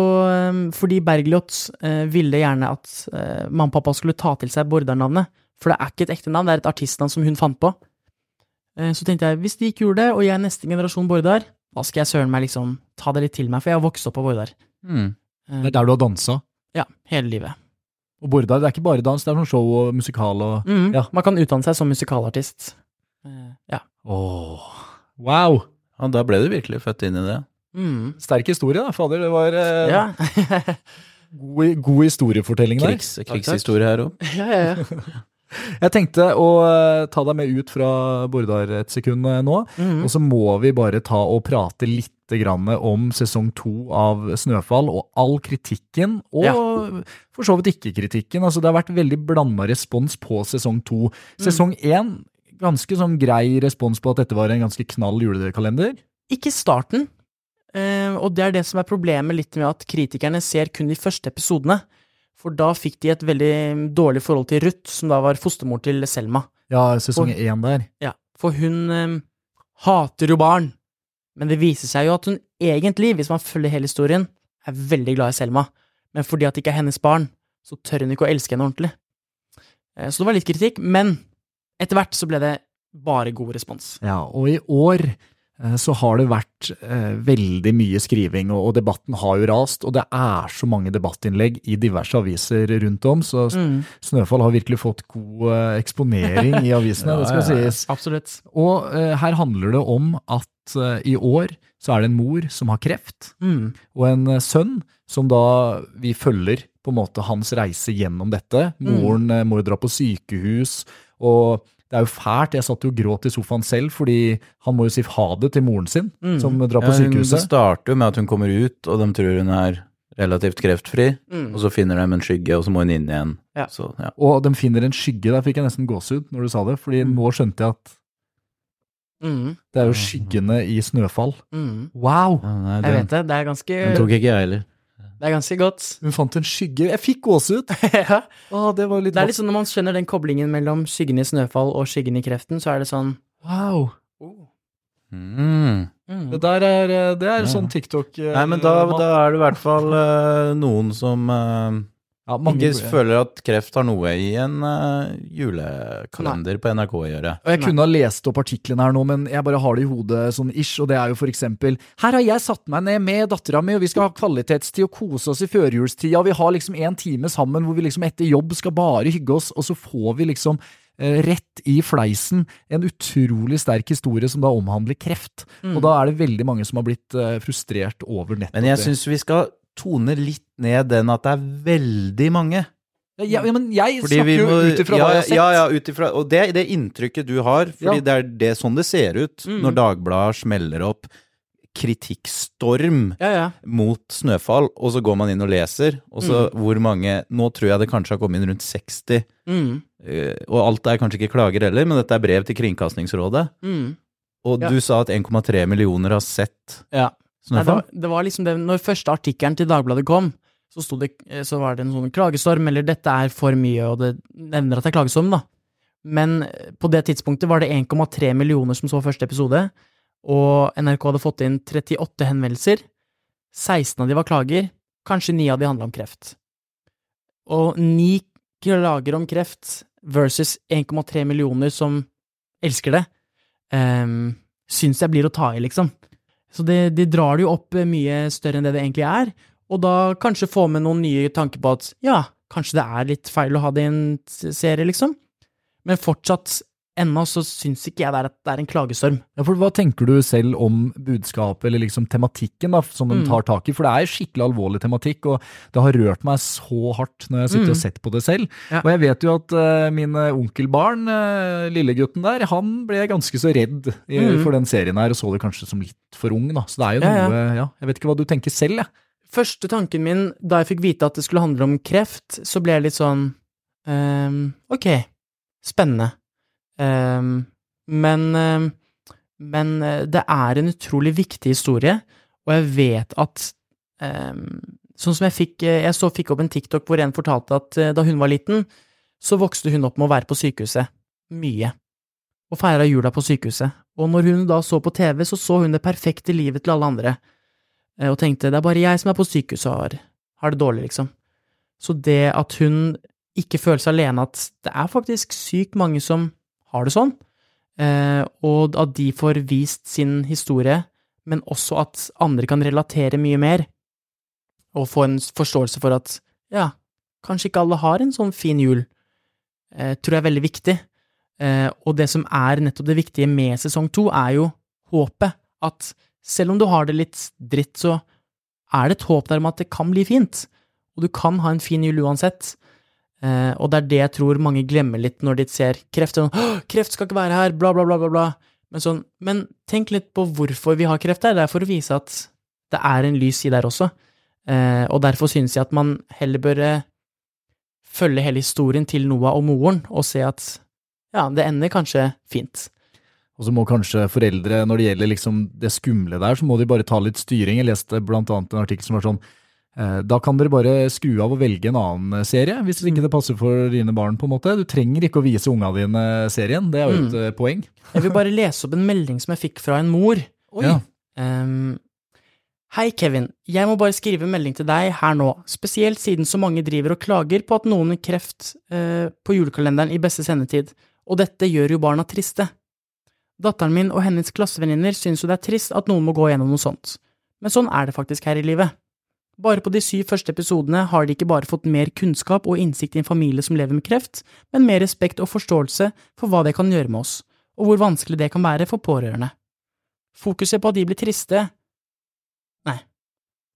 um, fordi Bergljot eh, ville gjerne at eh, mamma og pappa skulle ta til seg Bordar-navnet. For det er ikke et ekte navn, det er et artistnavn som hun fant på. Eh, så tenkte jeg, hvis de ikke gjorde det, og jeg er neste generasjon Bordar, da skal jeg søren meg liksom ta det litt til meg, for jeg har vokst opp på Bordar.
Mm.
Eh,
Det er der du har dansa.
ja, hele livet.
Og Bordar, det er ikke bare dans, det er sånn show og musikal og
Mm,
Ja.
Man kan utdanne seg som musikalartist. Eh, ja.
Åh. Wow!
Ja, da ble du virkelig født inn i det.
Mm,
Sterk historie, da. Fader, det var eh,
ja.
god, god historiefortelling der.
Krigs, krigshistorie her òg.
ja, ja, ja.
Jeg tenkte å eh, ta deg med ut fra Bordar et sekund eh, nå,
Mm.
og så må vi bare ta og prate litt grann om sesong to av Snøfall og all kritikken, og for så vidt ikke kritikken. Altså, det har vært veldig blanda respons på sesong to. Sesong én, ganske sånn grei respons på at dette var en ganske knall julekalender.
Ikke starten. Eh, og det er det som er problemet litt med at kritikerne ser kun de første episodene. For da fikk de et veldig dårlig forhold til Ruth, som da var fostermor til Selma.
Ja, sesong
Og-
én der.
Ja, For hun eh, hater jo barn. Men det viser seg jo at hun egentlig, hvis man følger hele historien, er veldig glad i Selma. Men fordi at det ikke er hennes barn, så tør hun ikke å elske henne ordentlig. Eh, så det var litt kritikk. Men etter hvert så ble det bare god respons.
Ja, og i år eh, så har det vært eh, veldig mye skriving, og, og debatten har jo rast, og det er så mange debattinnlegg i diverse aviser rundt om, så S-
Mm,
Snøfall har virkelig fått god eh, eksponering i avisene, det skal
Ja, ja, ja.
sies.
absolutt.
Og eh, her handler det om at eh, i år så er det en mor som har kreft,
Mm,
og en eh, sønn som da vi følger på en måte hans reise gjennom dette.
Mm.
Moren eh, må jo dra på sykehus, og det er jo fælt. Jeg satt jo og gråt i sofaen selv, fordi han må jo si ha det til moren sin,
Mm.
som drar på
Ja, hun- det
sykehuset.
starter jo med at hun kommer ut, og de tror hun er relativt kreftfri.
mm.
Og så finner de en skygge, og så må hun inn igjen.
Ja.
Så, ja.
Og de finner en skygge. Der fikk jeg nesten gåsehud når du sa det, fordi
Mm.
nå skjønte jeg at
Mm,
det er jo skyggene i snøfall.
mm.
Wow!
Ja, nei,
Jeg
den,
vet det. Det er ganske,
den tok ikke jeg heller.
det er ganske godt.
Hun fant en skygge. Jeg fikk gåsehud!
ja.
Å, det var jo litt
Det er litt sånn Når man skjønner den koblingen mellom skyggen i snøfall og skyggen i kreften, så er det sånn
Wow!
Mm.
mm.
Det der er, eh, det er
Ja.
sånn TikTok eh,
Nei, men da,
man-
da er det i hvert fall eh, noen som eh,
ja, mange,
ikke føler at kreft har noe i en eh, julekalender på NRK å gjøre.
Og jeg
Nei.
kunne ha lest opp artiklene her nå, men jeg bare har det i hodet sånn ish, og det er jo for eksempel Her har jeg satt meg ned med dattera mi, og vi skal ha kvalitetstid og kose oss i førjulstida, og vi har liksom en time sammen hvor vi liksom etter jobb skal bare hygge oss, og så får vi liksom eh, Rett i fleisen. En utrolig sterk historie som da omhandler kreft. Og da er det veldig mange som har blitt eh, frustrert over nettopp
Men jeg
det.
syns vi skal tone litt ned den at det er veldig mange.
Ja, ja, men jeg
Fordi vi
snakker
må,
jo ut ifra
ja,
hva jeg har sett.
ja, ja, ut ifra Og det er det inntrykket du har, fordi
Ja.
det er det sånn det ser ut
Mm.
når Dagbladet smeller opp kritikkstorm
Ja, ja.
mot snøfall, og så går man inn og leser, og så
Mm.
hvor mange Nå tror jeg det kanskje har kommet inn rundt 60,
Mm.
eh, og alt er kanskje ikke klager heller, men dette er brev til Kringkastingsrådet.
Mm.
Og
Ja.
du sa at 1,3 millioner har sett
Ja. Nei, det,
Snøfall.
var, det var liksom det, når første artikkelen til Dagbladet kom, så, sto det, eh, så var det en sånn klagestorm, eller 'dette er for mye', og det nevner at det er klagestorm, da. Men eh, på det tidspunktet var det 1,3 millioner som så første episode, og NRK hadde fått inn 38 henvendelser. 16 av de var klager, kanskje 9 av de handla om kreft. Og 9 klager om kreft versus 1,3 millioner som elsker det, um, syns jeg blir å ta i, liksom. Så det, de drar det jo opp eh, mye større enn det det egentlig er, og da kanskje få med noen nye tanker på at ja, kanskje det er litt feil å ha det i en s- serie, liksom. Men fortsatt, ennå så syns ikke jeg det er, at det er en klagestorm.
Ja, for Hva tenker du selv om budskapet, eller liksom tematikken da, som den
Mm.
tar tak i? For det er skikkelig alvorlig tematikk, og det har rørt meg så hardt når jeg sitter
Mm.
og sett på det selv.
Ja.
Og jeg vet jo at eh, min onkelbarn, eh, lillegutten der, han ble ganske så redd i,
Mm.
for den serien her, og så det kanskje som litt for ung, da. Så det er jo
Ja, ja.
noe ja, Jeg vet ikke hva du tenker selv, jeg.
Første tanken min da jeg fikk vite at det skulle handle om kreft, så ble jeg litt sånn ehm, Ok, spennende. Ehm, men ehm, men eh, det er en utrolig viktig historie, og jeg vet at ehm, Sånn som jeg fikk eh, Jeg så fikk opp en TikTok hvor en fortalte at eh, da hun var liten, så vokste hun opp med å være på sykehuset. Mye. Og feira jula på sykehuset. Og når hun da så på TV, så så hun det perfekte livet til alle andre eh, og tenkte det er bare jeg som er på sykehuset og har, har det dårlig, liksom. Så det at hun ikke føler seg alene, at det er faktisk sykt mange som har det sånn, eh, og at de får vist sin historie, men også at andre kan relatere mye mer, og få en forståelse for at ja, kanskje ikke alle har en sånn fin jul, eh, tror jeg er veldig viktig. Eh, og det som er nettopp det viktige med sesong to, er jo håpet. At selv om du har det litt dritt, så er det et håp der om at det kan bli fint. Og du kan ha en fin jul uansett. Eh, og det er det jeg tror mange glemmer litt når de ser kreft. Sånn, «Åh, kreft skal ikke være her, bla, bla, bla, bla, bla. Men, sånn, men tenk litt på hvorfor vi har kreft der. Det er for å vise at det er en lys side der også. Eh, og derfor synes jeg at man heller bør eh, følge hele historien til Noah og moren, og se at ja, det ender kanskje fint.
Og så må kanskje foreldre, når det gjelder liksom det skumle der, så må de bare ta litt styring. Jeg leste blant annet en artikkel som var sånn eh, da kan dere bare skru av og velge en annen eh, serie, hvis
Mm.
ikke det passer for dine barn. på en måte. Du trenger ikke å vise unga dine serien, det er
Mm.
jo et eh, poeng.
Jeg vil bare lese opp en melding som jeg fikk fra en mor.
Ja.
Ehm, Hei, Kevin. Jeg må bare skrive en melding til deg her nå, spesielt siden så mange driver og klager på at noen har kreft eh, på julekalenderen i beste sendetid, og dette gjør jo barna triste. Datteren min og hennes klassevenninner syns jo det er trist at noen må gå gjennom noe sånt, men sånn er det faktisk her i livet. Bare på de syv første episodene har de ikke bare fått mer kunnskap og innsikt i en familie som lever med kreft, men mer respekt og forståelse for hva det kan gjøre med oss, og hvor vanskelig det kan være for pårørende. Fokuset på at de blir triste… Nei.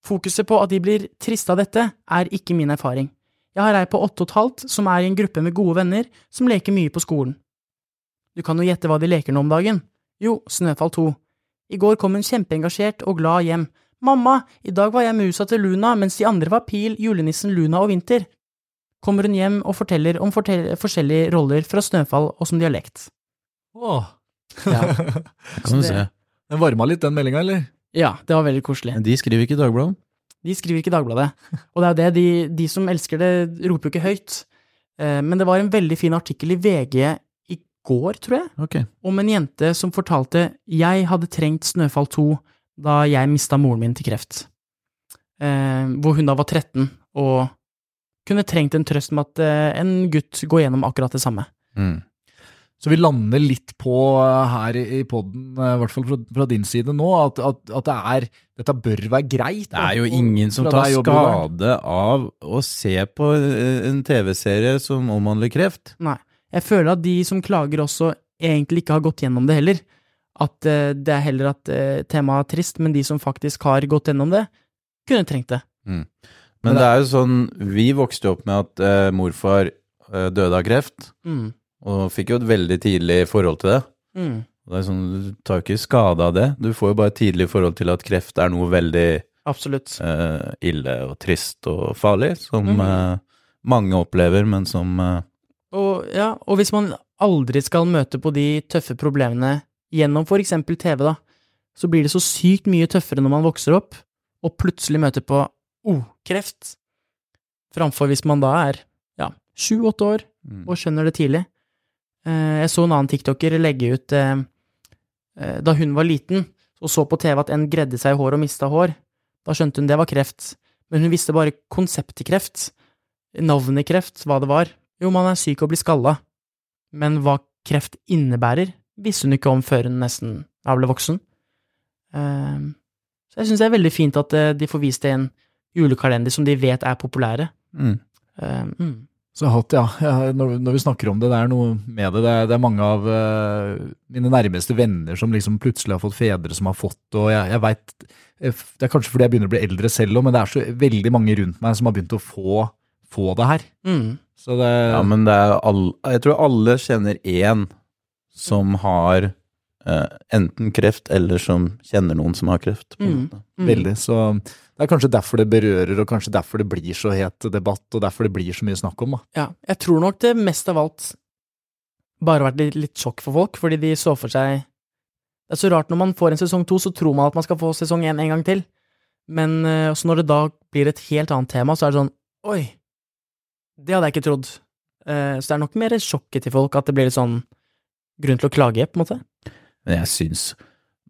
Fokuset på at de blir triste av dette, er ikke min erfaring. Jeg har ei på åtte og et halvt som er i en gruppe med gode venner som leker mye på skolen. Du kan jo gjette hva de leker nå om dagen. Jo, Snøfall 2. I går kom hun kjempeengasjert og glad hjem. Mamma, i dag var jeg musa til Luna, mens de andre var Pil, julenissen, Luna og Vinter. Kommer hun hjem og forteller om fortell forskjellige roller fra Snøfall og som dialekt.
Åh.
Ja.
Kan du
det-
se.
Den varma litt, den meldinga, eller?
Ja, det var veldig koselig.
Men de skriver ikke i Dagbladet.
De skriver ikke i Dagbladet. Og det er jo det, de, de som elsker det, roper jo ikke høyt. Eh, Men det var en veldig fin artikkel i VG i går, tror jeg,
Ok.
om en jente som fortalte jeg hadde trengt Snøfall 2 da jeg mista moren min til kreft. Eh, Hvor hun da var 13 og kunne trengt en trøst med at eh, en gutt går gjennom akkurat det samme.
Mm.
Så vi lander litt på eh, her i poden, i hvert fall fra, fra din side nå, at, at, at det er, dette bør være greit.
Det er jo
og-
ingen som
fra
tar
deg og broderen.
skade av å se på eh, en TV-serie som omhandler kreft.
Jeg føler at de som klager også egentlig ikke har gått gjennom det heller. At eh, det er heller at eh, temaet er trist, men de som faktisk har gått gjennom det, kunne trengt det.
Men det er jo sånn, vi vokste jo opp med at eh, morfar eh, døde av kreft,
Mm.
og fikk jo et veldig tidlig forhold til det.
Mm.
Det er sånn, du tar jo ikke skade av det, du får jo bare et tidlig forhold til at kreft er noe veldig
Absolutt.
eh, ille og trist og farlig, som
Mm.
Mhm.
eh, mange opplever, men som eh,
Og, ja, og hvis man aldri skal møte på de tøffe problemene gjennom for eksempel TV, da, så blir det så sykt mye tøffere når man vokser opp, og plutselig møter på oh, kreft, framfor hvis man da er ja, sju-åtte år
Mm.
og skjønner det tidlig. Eh, Jeg så en annen tiktoker legge ut eh, eh, Da hun var liten og så på TV at en gredde seg i håret og mista hår, da skjønte hun det var kreft. Men hun visste bare konseptet kreft. Navnet kreft, hva det var. Jo, man er syk og blir skalla. Men hva kreft innebærer, visste hun ikke om før hun nesten ja, ble voksen. Eh, Så jeg syns det er veldig fint at eh, de får vist det i en julekalender som de vet er populære.
Mm.
Eh, mm.
Så jeg har hatt, ja, ja, når, når vi snakker om det, det er noe med det. Det er, det er mange av eh, mine nærmeste venner som liksom plutselig har fått fedre som har fått, og jeg, jeg veit Det er kanskje fordi jeg begynner å bli eldre selv òg, men det er så veldig mange rundt meg som har begynt å få, få det her.
Mm.
Så det
Ja, men det er alle, jeg tror alle kjenner én som har eh, enten kreft, eller som kjenner noen som har kreft. På en
Mm.
måte.
Mm.
Veldig. Så det er kanskje derfor det berører, og kanskje derfor det blir så het debatt, og derfor det blir så mye snakk om, da.
Ja, jeg tror nok det mest av alt bare har vært litt, litt sjokk for folk, fordi de så for seg Det er så rart når man får en sesong to, så tror man at man skal få sesong én en gang til, men eh, også når det da blir et helt annet tema, så er det sånn Oi, det hadde jeg ikke trodd. Eh, så det er nok mer sjokket til folk at det blir litt sånn grunn til å klage, på en måte.
Men jeg syns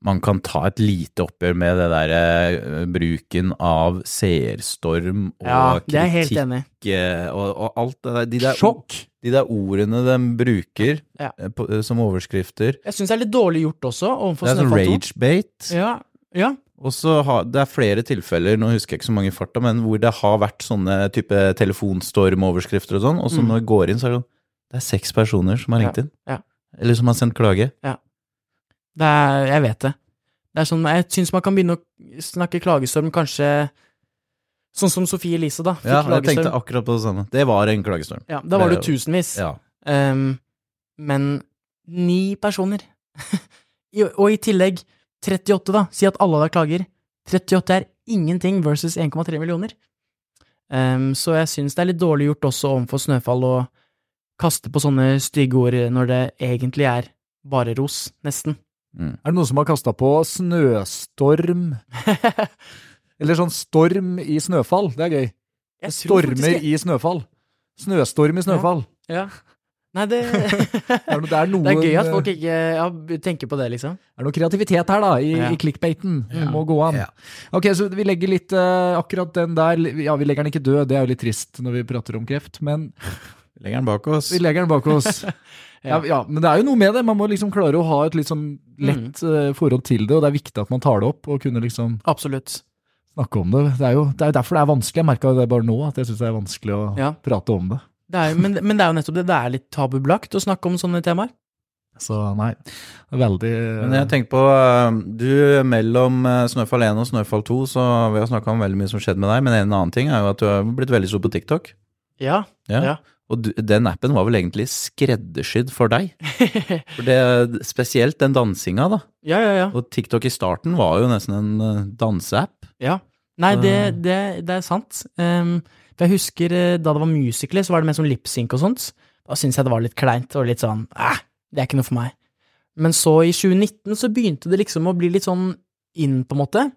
man kan ta et lite oppgjør med det der eh, bruken av seerstorm og
det er jeg helt
kritikk
enig i.
eh, og, og alt det der. De der,
Sjokk!
de der ordene de bruker
Ja.
eh, på, eh, som overskrifter.
Jeg syns det er litt dårlig gjort også,
Det
overfor
er sånn
Snøfall 2.
ragebate.
Ja, ja.
Og så har, det er flere tilfeller, nå husker jeg ikke så mange i farta, men hvor det har vært sånne type telefonstormoverskrifter og sånn, og så
Mm.
når jeg går inn, så er det sånn Det er seks personer som har ringt inn.
ja.
Eller som har sendt klage.
Det er, jeg vet det. Det er sånn, jeg syns man kan begynne å snakke klagestorm, kanskje sånn som Sofie Elise, da. Fikk
Ja, jeg
klagestorm.
tenkte akkurat på det samme. Det var en klagestorm.
Ja, da var det
Det-
jo tusenvis.
Ja.
Ehm, men ni personer. I- Og i tillegg 38, da. Si at alle da klager. 38 er ingenting versus 1,3 millioner. Ehm, så jeg syns det er litt dårlig gjort også overfor Snøfall å kaste på sånne stygge ord når det egentlig er bare ros, nesten.
Er det noen som har kasta på snøstorm? Eller sånn storm i snøfall? Det er gøy.
Jeg tror faktisk
Stormer
jeg-
i snøfall. Snøstorm i snøfall.
Ja. Nei, det
Det er, no, det er, noen, eh,
Det er gøy at folk ikke ja, tenker på det, liksom.
er noe kreativitet her, da, i,
Ja.
i clickbaiten. Det Må gå an.
Ja.
Ok, så vi legger litt eh, akkurat den der Ja, vi legger den ikke død, det er jo litt trist når vi prater om kreft, men
Legger den bak oss.
vi legger den bak oss. ja. Ja, men det er jo noe med det. Man må liksom klare å ha et litt sånn lett
Mm.
eh, forhold til det, og det er viktig at man tar det opp og kunne liksom
Absolutt.
snakke om det. Det er jo det er jo derfor det er vanskelig. Jeg merka det bare nå, at jeg syns det er vanskelig å
Ja.
prate om det.
Det er, jo- men, men det er jo nettopp det. Det er litt tabubelagt å snakke om sånne temaer.
Så nei, veldig
Men jeg tenker på eh, Du, mellom eh, Snøfall 1 og Snøfall 2, så vi har snakka om veldig mye som skjedde med deg, men en annen ting er jo at du har blitt veldig stor på TikTok.
Ja.
Ja.
Ja.
Og du, den appen var vel egentlig skreddersydd for deg. For det, spesielt den dansinga, da.
ja, ja, ja.
Og TikTok i starten var jo nesten en eh, danseapp.
Nei,
Eh.
det, det, det er sant. Ehm, for jeg husker eh, da det var musical.ly, så var det mer sånn lipsync og sånt. Da syntes jeg det var litt kleint og litt sånn æh, det er ikke noe for meg. Men så i 2019 så begynte det liksom å bli litt sånn inn, på en måte.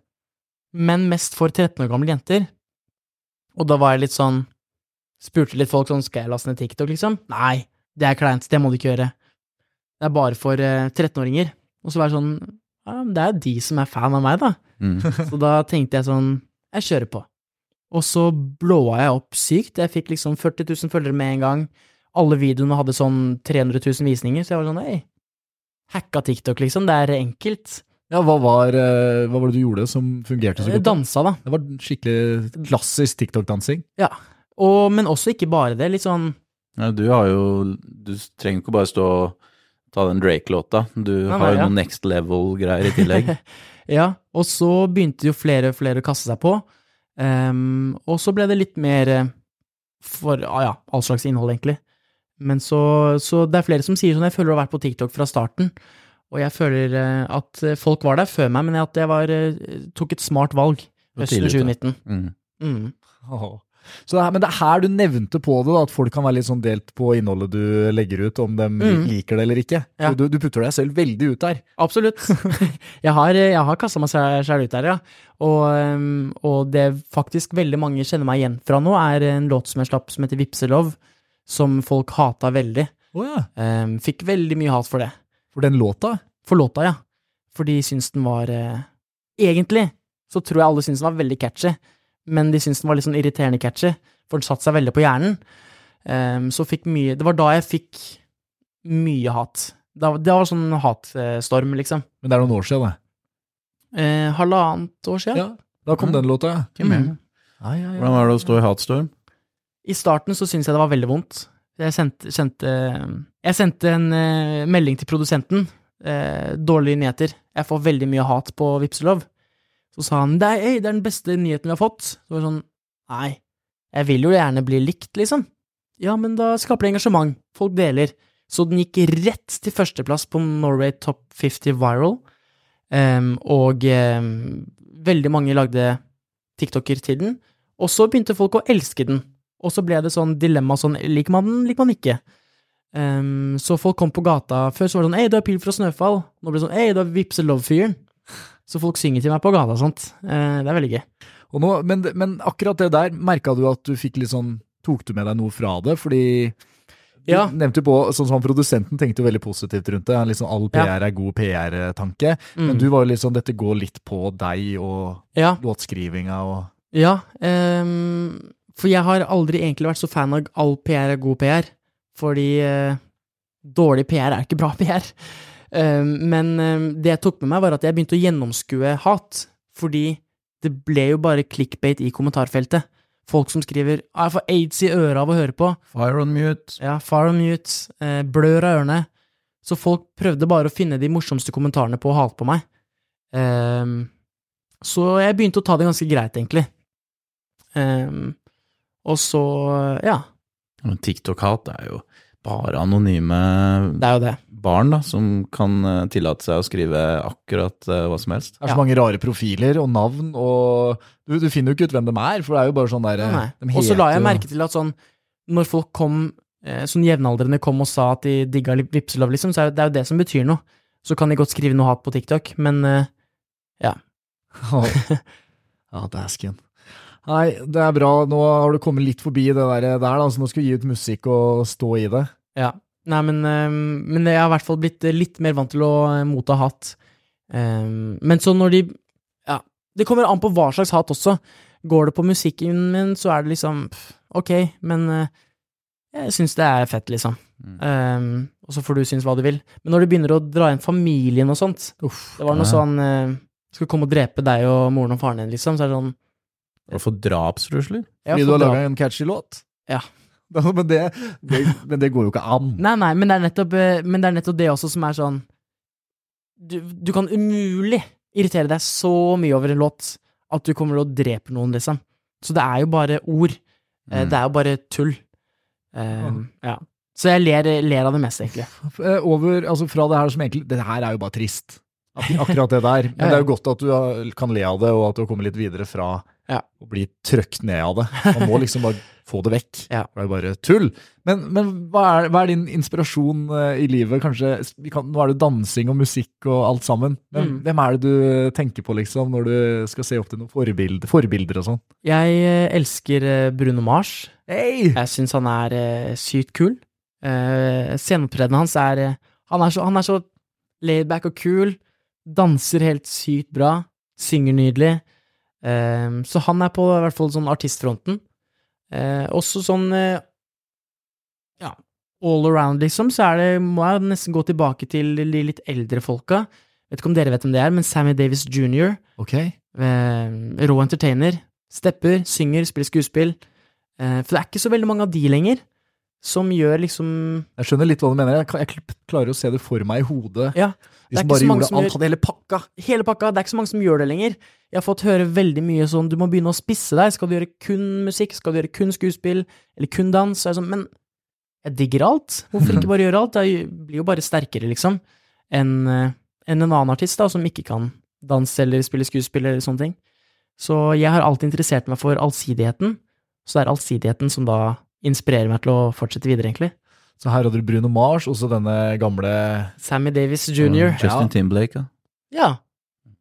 Men mest for 13 år gamle jenter. Og da var jeg litt sånn Spurte litt folk sånn skal jeg laste ned TikTok, liksom? Nei, det er kleint, det må du ikke gjøre. Det er bare for eh, 13-åringer. Og så var jeg sånn ja, men Det er jo de som er fan av meg, da.
Mm.
Så da tenkte jeg sånn, jeg kjører på. Og så blåa jeg opp sykt. Jeg fikk liksom 40 000 følgere med en gang. Alle videoene hadde sånn 300 000 visninger, så jeg var sånn, hei, hacka TikTok, liksom. Det er enkelt.
Ja, hva var, eh, hva var det du gjorde som fungerte så godt? da?
Dansa, da.
Det var skikkelig klassisk TikTok-dansing.
Og, men også ikke bare det. Litt sånn
Ja, du har jo Du trenger ikke bare stå og ta den Drake-låta. Du
Nei,
har jo
nei, ja.
noen next level-greier i tillegg.
Ja, og så begynte jo flere og flere å kaste seg på. Ehm, og så ble det litt mer eh, for ah, ja, all slags innhold, egentlig. Men så, så det er flere som sier sånn Jeg føler å ha vært på TikTok fra starten. Og jeg føler eh, at eh, folk var der før meg, men at jeg var, eh, tok et smart valg
Og
høsten
tidlig ute.
2019.
Mm.
Mm.
Åh. Så det er, men det er her du nevnte på det, da, at folk kan være litt sånn delt på innholdet du legger ut, om de
Mm.
liker det eller ikke.
Ja.
Du, du putter deg selv veldig ut der.
Absolutt. Jeg har, eh, jeg har kasta meg sjæl ut der, ja. Og, øhm, og det faktisk veldig mange kjenner meg igjen fra nå, er en låt som jeg slapp som heter Vipselov, som folk hata veldig. Øhm, fikk veldig mye hat for det.
For den låta
For låta, ja. For de syns den var eh, Egentlig så tror jeg alle syns den var veldig catchy, men de syns den var litt sånn irriterende catchy, for den satte seg veldig på hjernen. Ehm, så fikk mye Det var da jeg fikk mye hat. Da, det var sånn hatstorm, liksom.
Men det er noen år siden, det.
Eh, halvannet år siden.
Ja. Da kom
Mm.
den låta, ja.
Mm.
Hvordan var det å stå i hatstorm?
I starten så syntes jeg det var veldig vondt. Jeg sendte, sendte, jeg sendte en eh, melding til produsenten. Eh, dårlige nyheter. Jeg får veldig mye hat på Vipselov. Så sa han det er, ei, det er den beste nyheten vi har fått. Så var det sånn Nei, jeg vil jo gjerne bli likt, liksom. Ja, men da skaper det engasjement. Folk deler. Så den gikk rett til førsteplass på Norway Top 50 Viral. Em, og em, veldig mange lagde TikToker til den. Og så begynte folk å elske den. Og så ble det sånn dilemma sånn, liker man den, liker man ikke. Ehm, så folk kom på gata, før så var det sånn, ei, du er pil fra Snøfall. Nå blir det sånn, ei, du er Vipse Love-fyren. Så folk synger til meg på gata og sånt. Eh, det er veldig gøy.
Og nå, men, men akkurat det der, merka du at du fikk litt sånn Tok du med deg noe fra det? Fordi du
Ja.
nevnte jo på, sånn som han Produsenten tenkte jo veldig positivt rundt det. Han Liksom, all
Ja.
PR er god PR-tanke. Men
Mm.
du var jo litt sånn Dette går litt på deg og
Ja,
låtskrivinga og
ja ehm, for jeg har aldri egentlig vært så fan av all PR er god PR. Fordi eh, dårlig PR er ikke bra PR. Ehm, men ehm, det jeg tok med meg, var at jeg begynte å gjennomskue hat. Fordi det ble jo bare clickbait i kommentarfeltet. Folk som skriver «Ah, 'Jeg får aids i øra av å høre på'.
Fire on mute.
Ja, far on mute, eh, blør av ørene. Så folk prøvde bare å finne de morsomste kommentarene på å hate på meg. Ehm, så jeg begynte å ta det ganske greit, egentlig. Ehm, og så, ja,
Men TikTok-hat er jo bare anonyme
det er jo det.
barn da, som kan eh, tillate seg å skrive akkurat eh, hva som helst.
Det er så
Ja.
mange rare profiler og navn, og du, du finner jo ikke ut hvem de er, for det er jo bare sånn der
Nei, nei.
de
Og så
heter
la jeg
jo-
merke til at sånn, når folk kom, eh, sånn jevnaldrende kom og sa at de digga li- Vipselov, liksom, så er det det er jo det som betyr noe. Så kan de godt skrive noe hat på TikTok, men eh,
Ja, dæsken. Nei, det er bra. Nå har du kommet litt forbi det der, der da, så nå skal vi gi ut musikk og stå i det.
Ja. Nei, men, øhm, men jeg har i hvert fall blitt eh, litt mer vant til å eh, motta hat. Ehm, men så når de Ja, det kommer an på hva slags hat også. Går det på musikken min, så er det liksom pff, ok, men eh, jeg syns det er fett, liksom.
Mm.
Ehm, og så får du synes hva du vil. Men når du begynner å dra inn familien og sånt Det var noe
Ja.
sånn eh, Skal komme og drepe deg og moren og faren din, liksom. Så er det sånn
Og få drapstrusler.
ja,
Fordi du
for
har
dra-
laga en catchy låt?
Ja.
Da, men, det, det, men det går jo ikke an.
Nei, nei, men det er nettopp, eh, men det, er nettopp det også som er sånn du, du kan umulig irritere deg så mye over en låt at du kommer til å drepe noen, liksom. Så det er jo bare ord. Eh,
Mm.
Det er jo bare tull. Eh, ja. Så jeg ler, ler av det meste, egentlig.
Eh, Over, altså fra det her som egentlig Det her er jo bare trist. Ak- Akkurat det der. Men det er jo godt at du har- kan le av det, og at du har kommet litt videre fra
Ja.
å bli trøkt ned av det. Man må liksom bare få det vekk.
Ja.
Det er jo bare tull. Men, men hva, er, hva er din inspirasjon eh, i livet? Kanskje, vi kan, Nå er det dansing og musikk og alt sammen. Hvem,
Mm.
hvem er det du tenker på liksom, når du skal se opp til noen forbilder, forbilder og sånn?
Jeg eh, elsker eh, Bruno Mars.
Hey!
Jeg syns han er eh, sykt kul. Uh, Sceneopptredenen hans er eh, Han er så, han er så laidback og kul. Danser helt sykt bra. Synger nydelig. Eh, så han er på i hvert fall sånn artistfronten. Eh, også sånn eh, Ja, all around, liksom, så er det, må jeg nesten gå tilbake til de litt eldre folka. Vet ikke om dere vet hvem det er, men Sammy Davis jr.
Ok.
Eh, rå entertainer. Stepper, synger, spiller skuespill. Eh, for det er ikke så veldig mange av de lenger som gjør liksom
Jeg skjønner litt hva du mener. Jeg, kan- jeg kl- klarer å se det for meg i hodet.
Ja,
De
det
som
er ikke så
bare
mange
gjorde
som
alt,
gjør-
hadde hele pakka.
Hele pakka, det er ikke så mange som gjør det lenger. Jeg har fått høre veldig mye sånn du må begynne å spisse deg, skal du gjøre kun musikk, skal du gjøre kun skuespill, eller kun dans, så er jeg sånn, men jeg digger alt. Hvorfor ikke bare gjøre alt? Jeg blir jo bare sterkere, liksom, enn eh, enn en annen artist da, som ikke kan danse eller spille skuespill eller sånne ting. Så jeg har alltid interessert meg for allsidigheten, Så det er allsidigheten som da inspirerer meg til å fortsette videre, egentlig.
Så her hadde du Bruno Mars, også denne gamle
Sammy Davis jr.
Og Justin Timberlake, da.
Ja,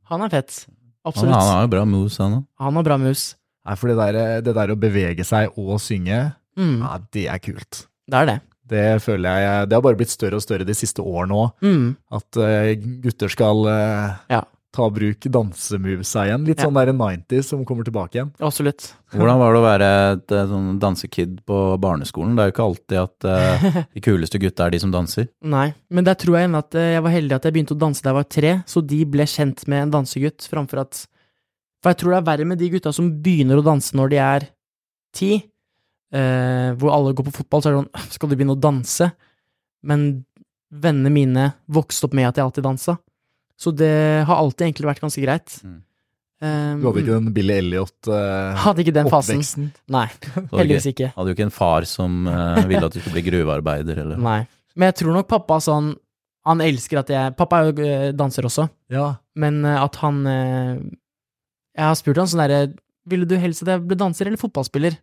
han er fett.
Han, han
Absolutt.
har jo bra moves, han òg.
Han har bra mus.
Nei, for det der, det der å bevege seg og synge,
Mm,
ja, det er kult.
det er det.
Det føler jeg Det har bare blitt større og større de siste årene òg,
Mm.
at eh, gutter skal eh,
Ja.
ta bruk dansemuvesa igjen. Litt
Ja.
sånn der 90s som kommer tilbake igjen.
Absolutt.
Hvordan var det å være et eh, sånn dansekid på barneskolen? Det er jo ikke alltid at eh, de kuleste gutta er de som danser.
Nei, men der tror jeg ennå at eh, jeg var heldig at jeg begynte å danse da jeg var tre, så de ble kjent med en dansegutt framfor at For jeg tror det er verre med de gutta som begynner å danse når de er ti, eh, hvor alle går på fotball, så er det sånn «Åh, Skal du begynne å danse? Men vennene mine vokste opp med at jeg alltid dansa, så det har alltid egentlig vært ganske greit.
Mm.
Eh,
Du hadde
mm.
ikke den eh, Billy Elliot-oppveksten.
Hadde ikke den fasen. Nei,
Så du
heldigvis
ikke,
ikke.
hadde jo ikke en far som eh, ville at du skulle bli gruvearbeider, eller
Nei. Men jeg tror nok pappa sånn Han elsker at jeg Pappa er jo eh, danser også.
ja.
Men eh, at han eh, Jeg har spurt han sånn derre Ville du helst at jeg ble danser eller fotballspiller?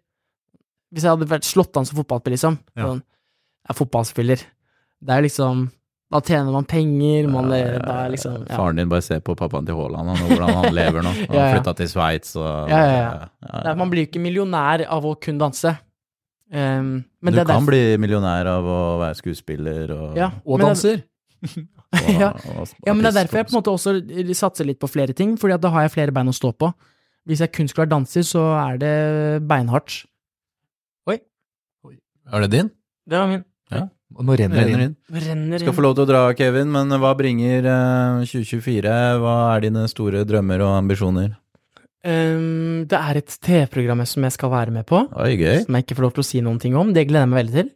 Hvis jeg hadde vært slått an som fotballspiller, liksom.
Ja.
Sånn, jeg er fotballspiller. Det er jo liksom Da tjener man penger, man det, det er liksom ja.
Eh, Faren din bare ser på pappaen til Haaland han, og hvordan han lever nå. Han
Ja,
har
ja.
flytta til Sveits og
Ja, ja, ja.
ja,
Nei, Man blir jo ikke millionær av å kun danse. Ehm, men
du
det er
kan
derfor-
bli millionær av å være skuespiller og,
ja,
Og
men det-
danser.
og,
Ja.
og- og
Ja, men det er
artist.
derfor jeg på en måte også eh, satser litt på flere ting, fordi at da har jeg flere bein å stå på. Hvis jeg kun skulle vært danser, så er det beinhardt.
Er det din?
Det var min.
Og nå renner det
Renner
inn.
inn.
Renner
Skal få lov til å dra, Kevin, men hva bringer eh, 2024? Hva er dine store drømmer og ambisjoner?
Ehm, det er et TV-program som jeg skal være med på,
Oi, gøy.
som jeg ikke får lov til å si noen ting om. Det gleder jeg meg veldig til.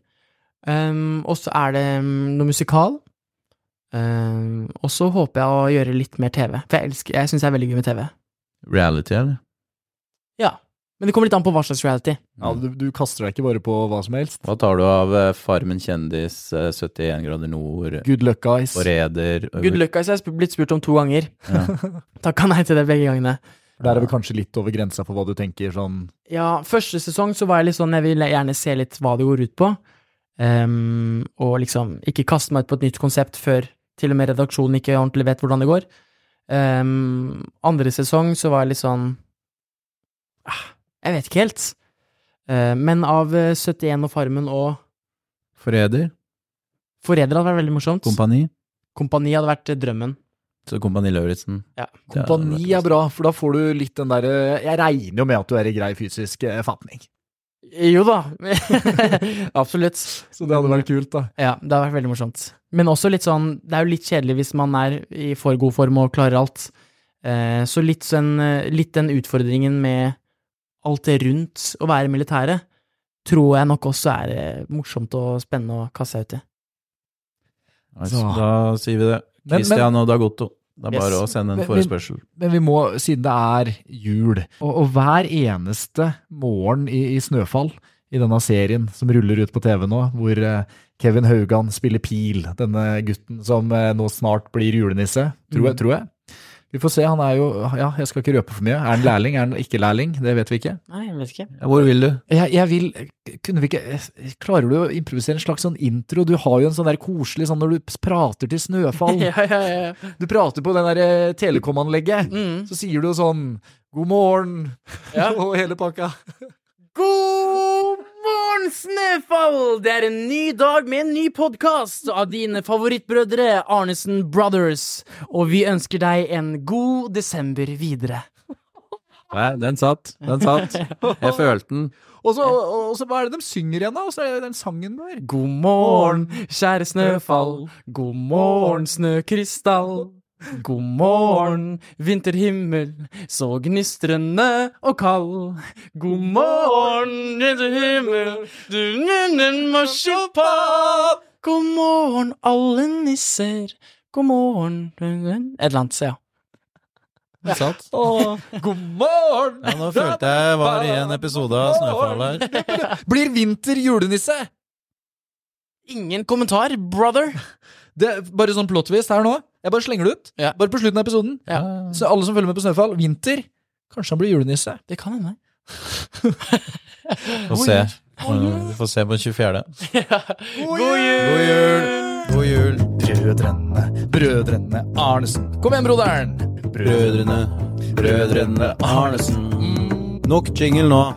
Ehm, og så er det mm, noe musikal. Ehm, og så håper jeg å gjøre litt mer TV, for jeg, elsker- jeg syns jeg er veldig gøy med TV.
Reality, eller?
Ja. Men det kommer litt an på hva slags reality.
Ja, du, du kaster deg ikke bare på hva som helst.
Hva tar du av eh, Farmen kjendis, eh, 71 grader nord,
Good luck, guys.
Forræder
Good luck, guys. Jeg er sp- blitt spurt om to ganger. Takka nei til det begge gangene.
Der er vi kanskje litt over grensa for hva du tenker sånn
Ja, første sesong så var jeg litt sånn, jeg vil gjerne se litt hva det går ut på. Ehm, og liksom ikke kaste meg ut på et nytt konsept før til og med redaksjonen ikke ordentlig vet hvordan det går. Ehm, andre sesong så var jeg litt sånn ah, Jeg vet ikke helt. Eh, men av eh, 71 og Farmen og
Forræder,
Forræder hadde vært veldig morsomt.
Kompani.
Kompani hadde vært eh, drømmen.
Så Kompani Lauritzen.
Ja.
Det er-
Kompani er bra, for da får du litt den derre Jeg regner jo med at du er i grei fysisk eh, fatning.
Jo da. Absolutt.
Så det hadde vært kult, da.
Ja, det har vært veldig morsomt. Men også litt sånn, det er jo litt kjedelig hvis man er i for god form og klarer alt. Eh, så litt, sånn, eh, litt den utfordringen med alt det rundt å være i militæret, tror jeg nok også er eh, morsomt og spennende å kaste seg ut i.
Altså,
Så.
da sier vi det.
Men- men-
Christian og Dagotto. Det er
Yes.
bare å sende en
Men- men-
forespørsel.
Men vi må, siden det er jul, og, og hver eneste morgen i, i Snøfall i denne serien som ruller ut på TV nå, hvor eh, Kevin Haugan spiller Pil, denne gutten som eh, nå snart blir julenisse, tror jeg. Tror jeg. Vi får se, han er jo Ja, jeg skal ikke røpe for mye. Er han lærling, er han ikke lærling? Det vet vi ikke.
Nei, jeg vet ikke.
Ja, hvor vil du?
Jeg, jeg vil Kunne vi ikke Klarer du å improvisere en slags sånn intro? Du har jo en sånn der koselig sånn når du prater til Snøfall.
ja, ja, ja.
Du prater på den der eh, telekomanlegget.
Mm.
Så sier du sånn God morgen og hele pakka.
God morgen, Snøfall! Det er en ny dag med en ny podkast av dine favorittbrødre Arnesen Brothers. Og vi ønsker deg en god desember videre.
Nei, den satt. Den satt. Jeg følte den.
Og så, og så hva er det de synger igjen, da? Og så er det den sangen der.
God morgen, kjære snøfall. God morgen, snøkrystall. God morgen, vinterhimmel, så gnistrende og kald. God morgen, vinterhimmel, du nunnen marsipan. God morgen, alle nisser. God morgen Et eller annet, ja.
den satt.
God morgen!
Ja, nå følte jeg var i en episode av Snøfall her.
Blir vinter julenisse?
Ingen kommentar, brother.
Det er bare sånn plottvist her nå. Jeg bare slenger det ut.
Ja.
Bare på slutten av episoden.
Ja.
Så alle som følger med på Snøfall, vinter. Kanskje han blir julenisse.
Det kan hende.
Få se. Vi får se på den 24.
God jul!
God jul! God jul,
Brødrene, brødrene Arnesen. Kom igjen, broderen!
brødrene. Brødrene Arnesen. Nok jingle nå.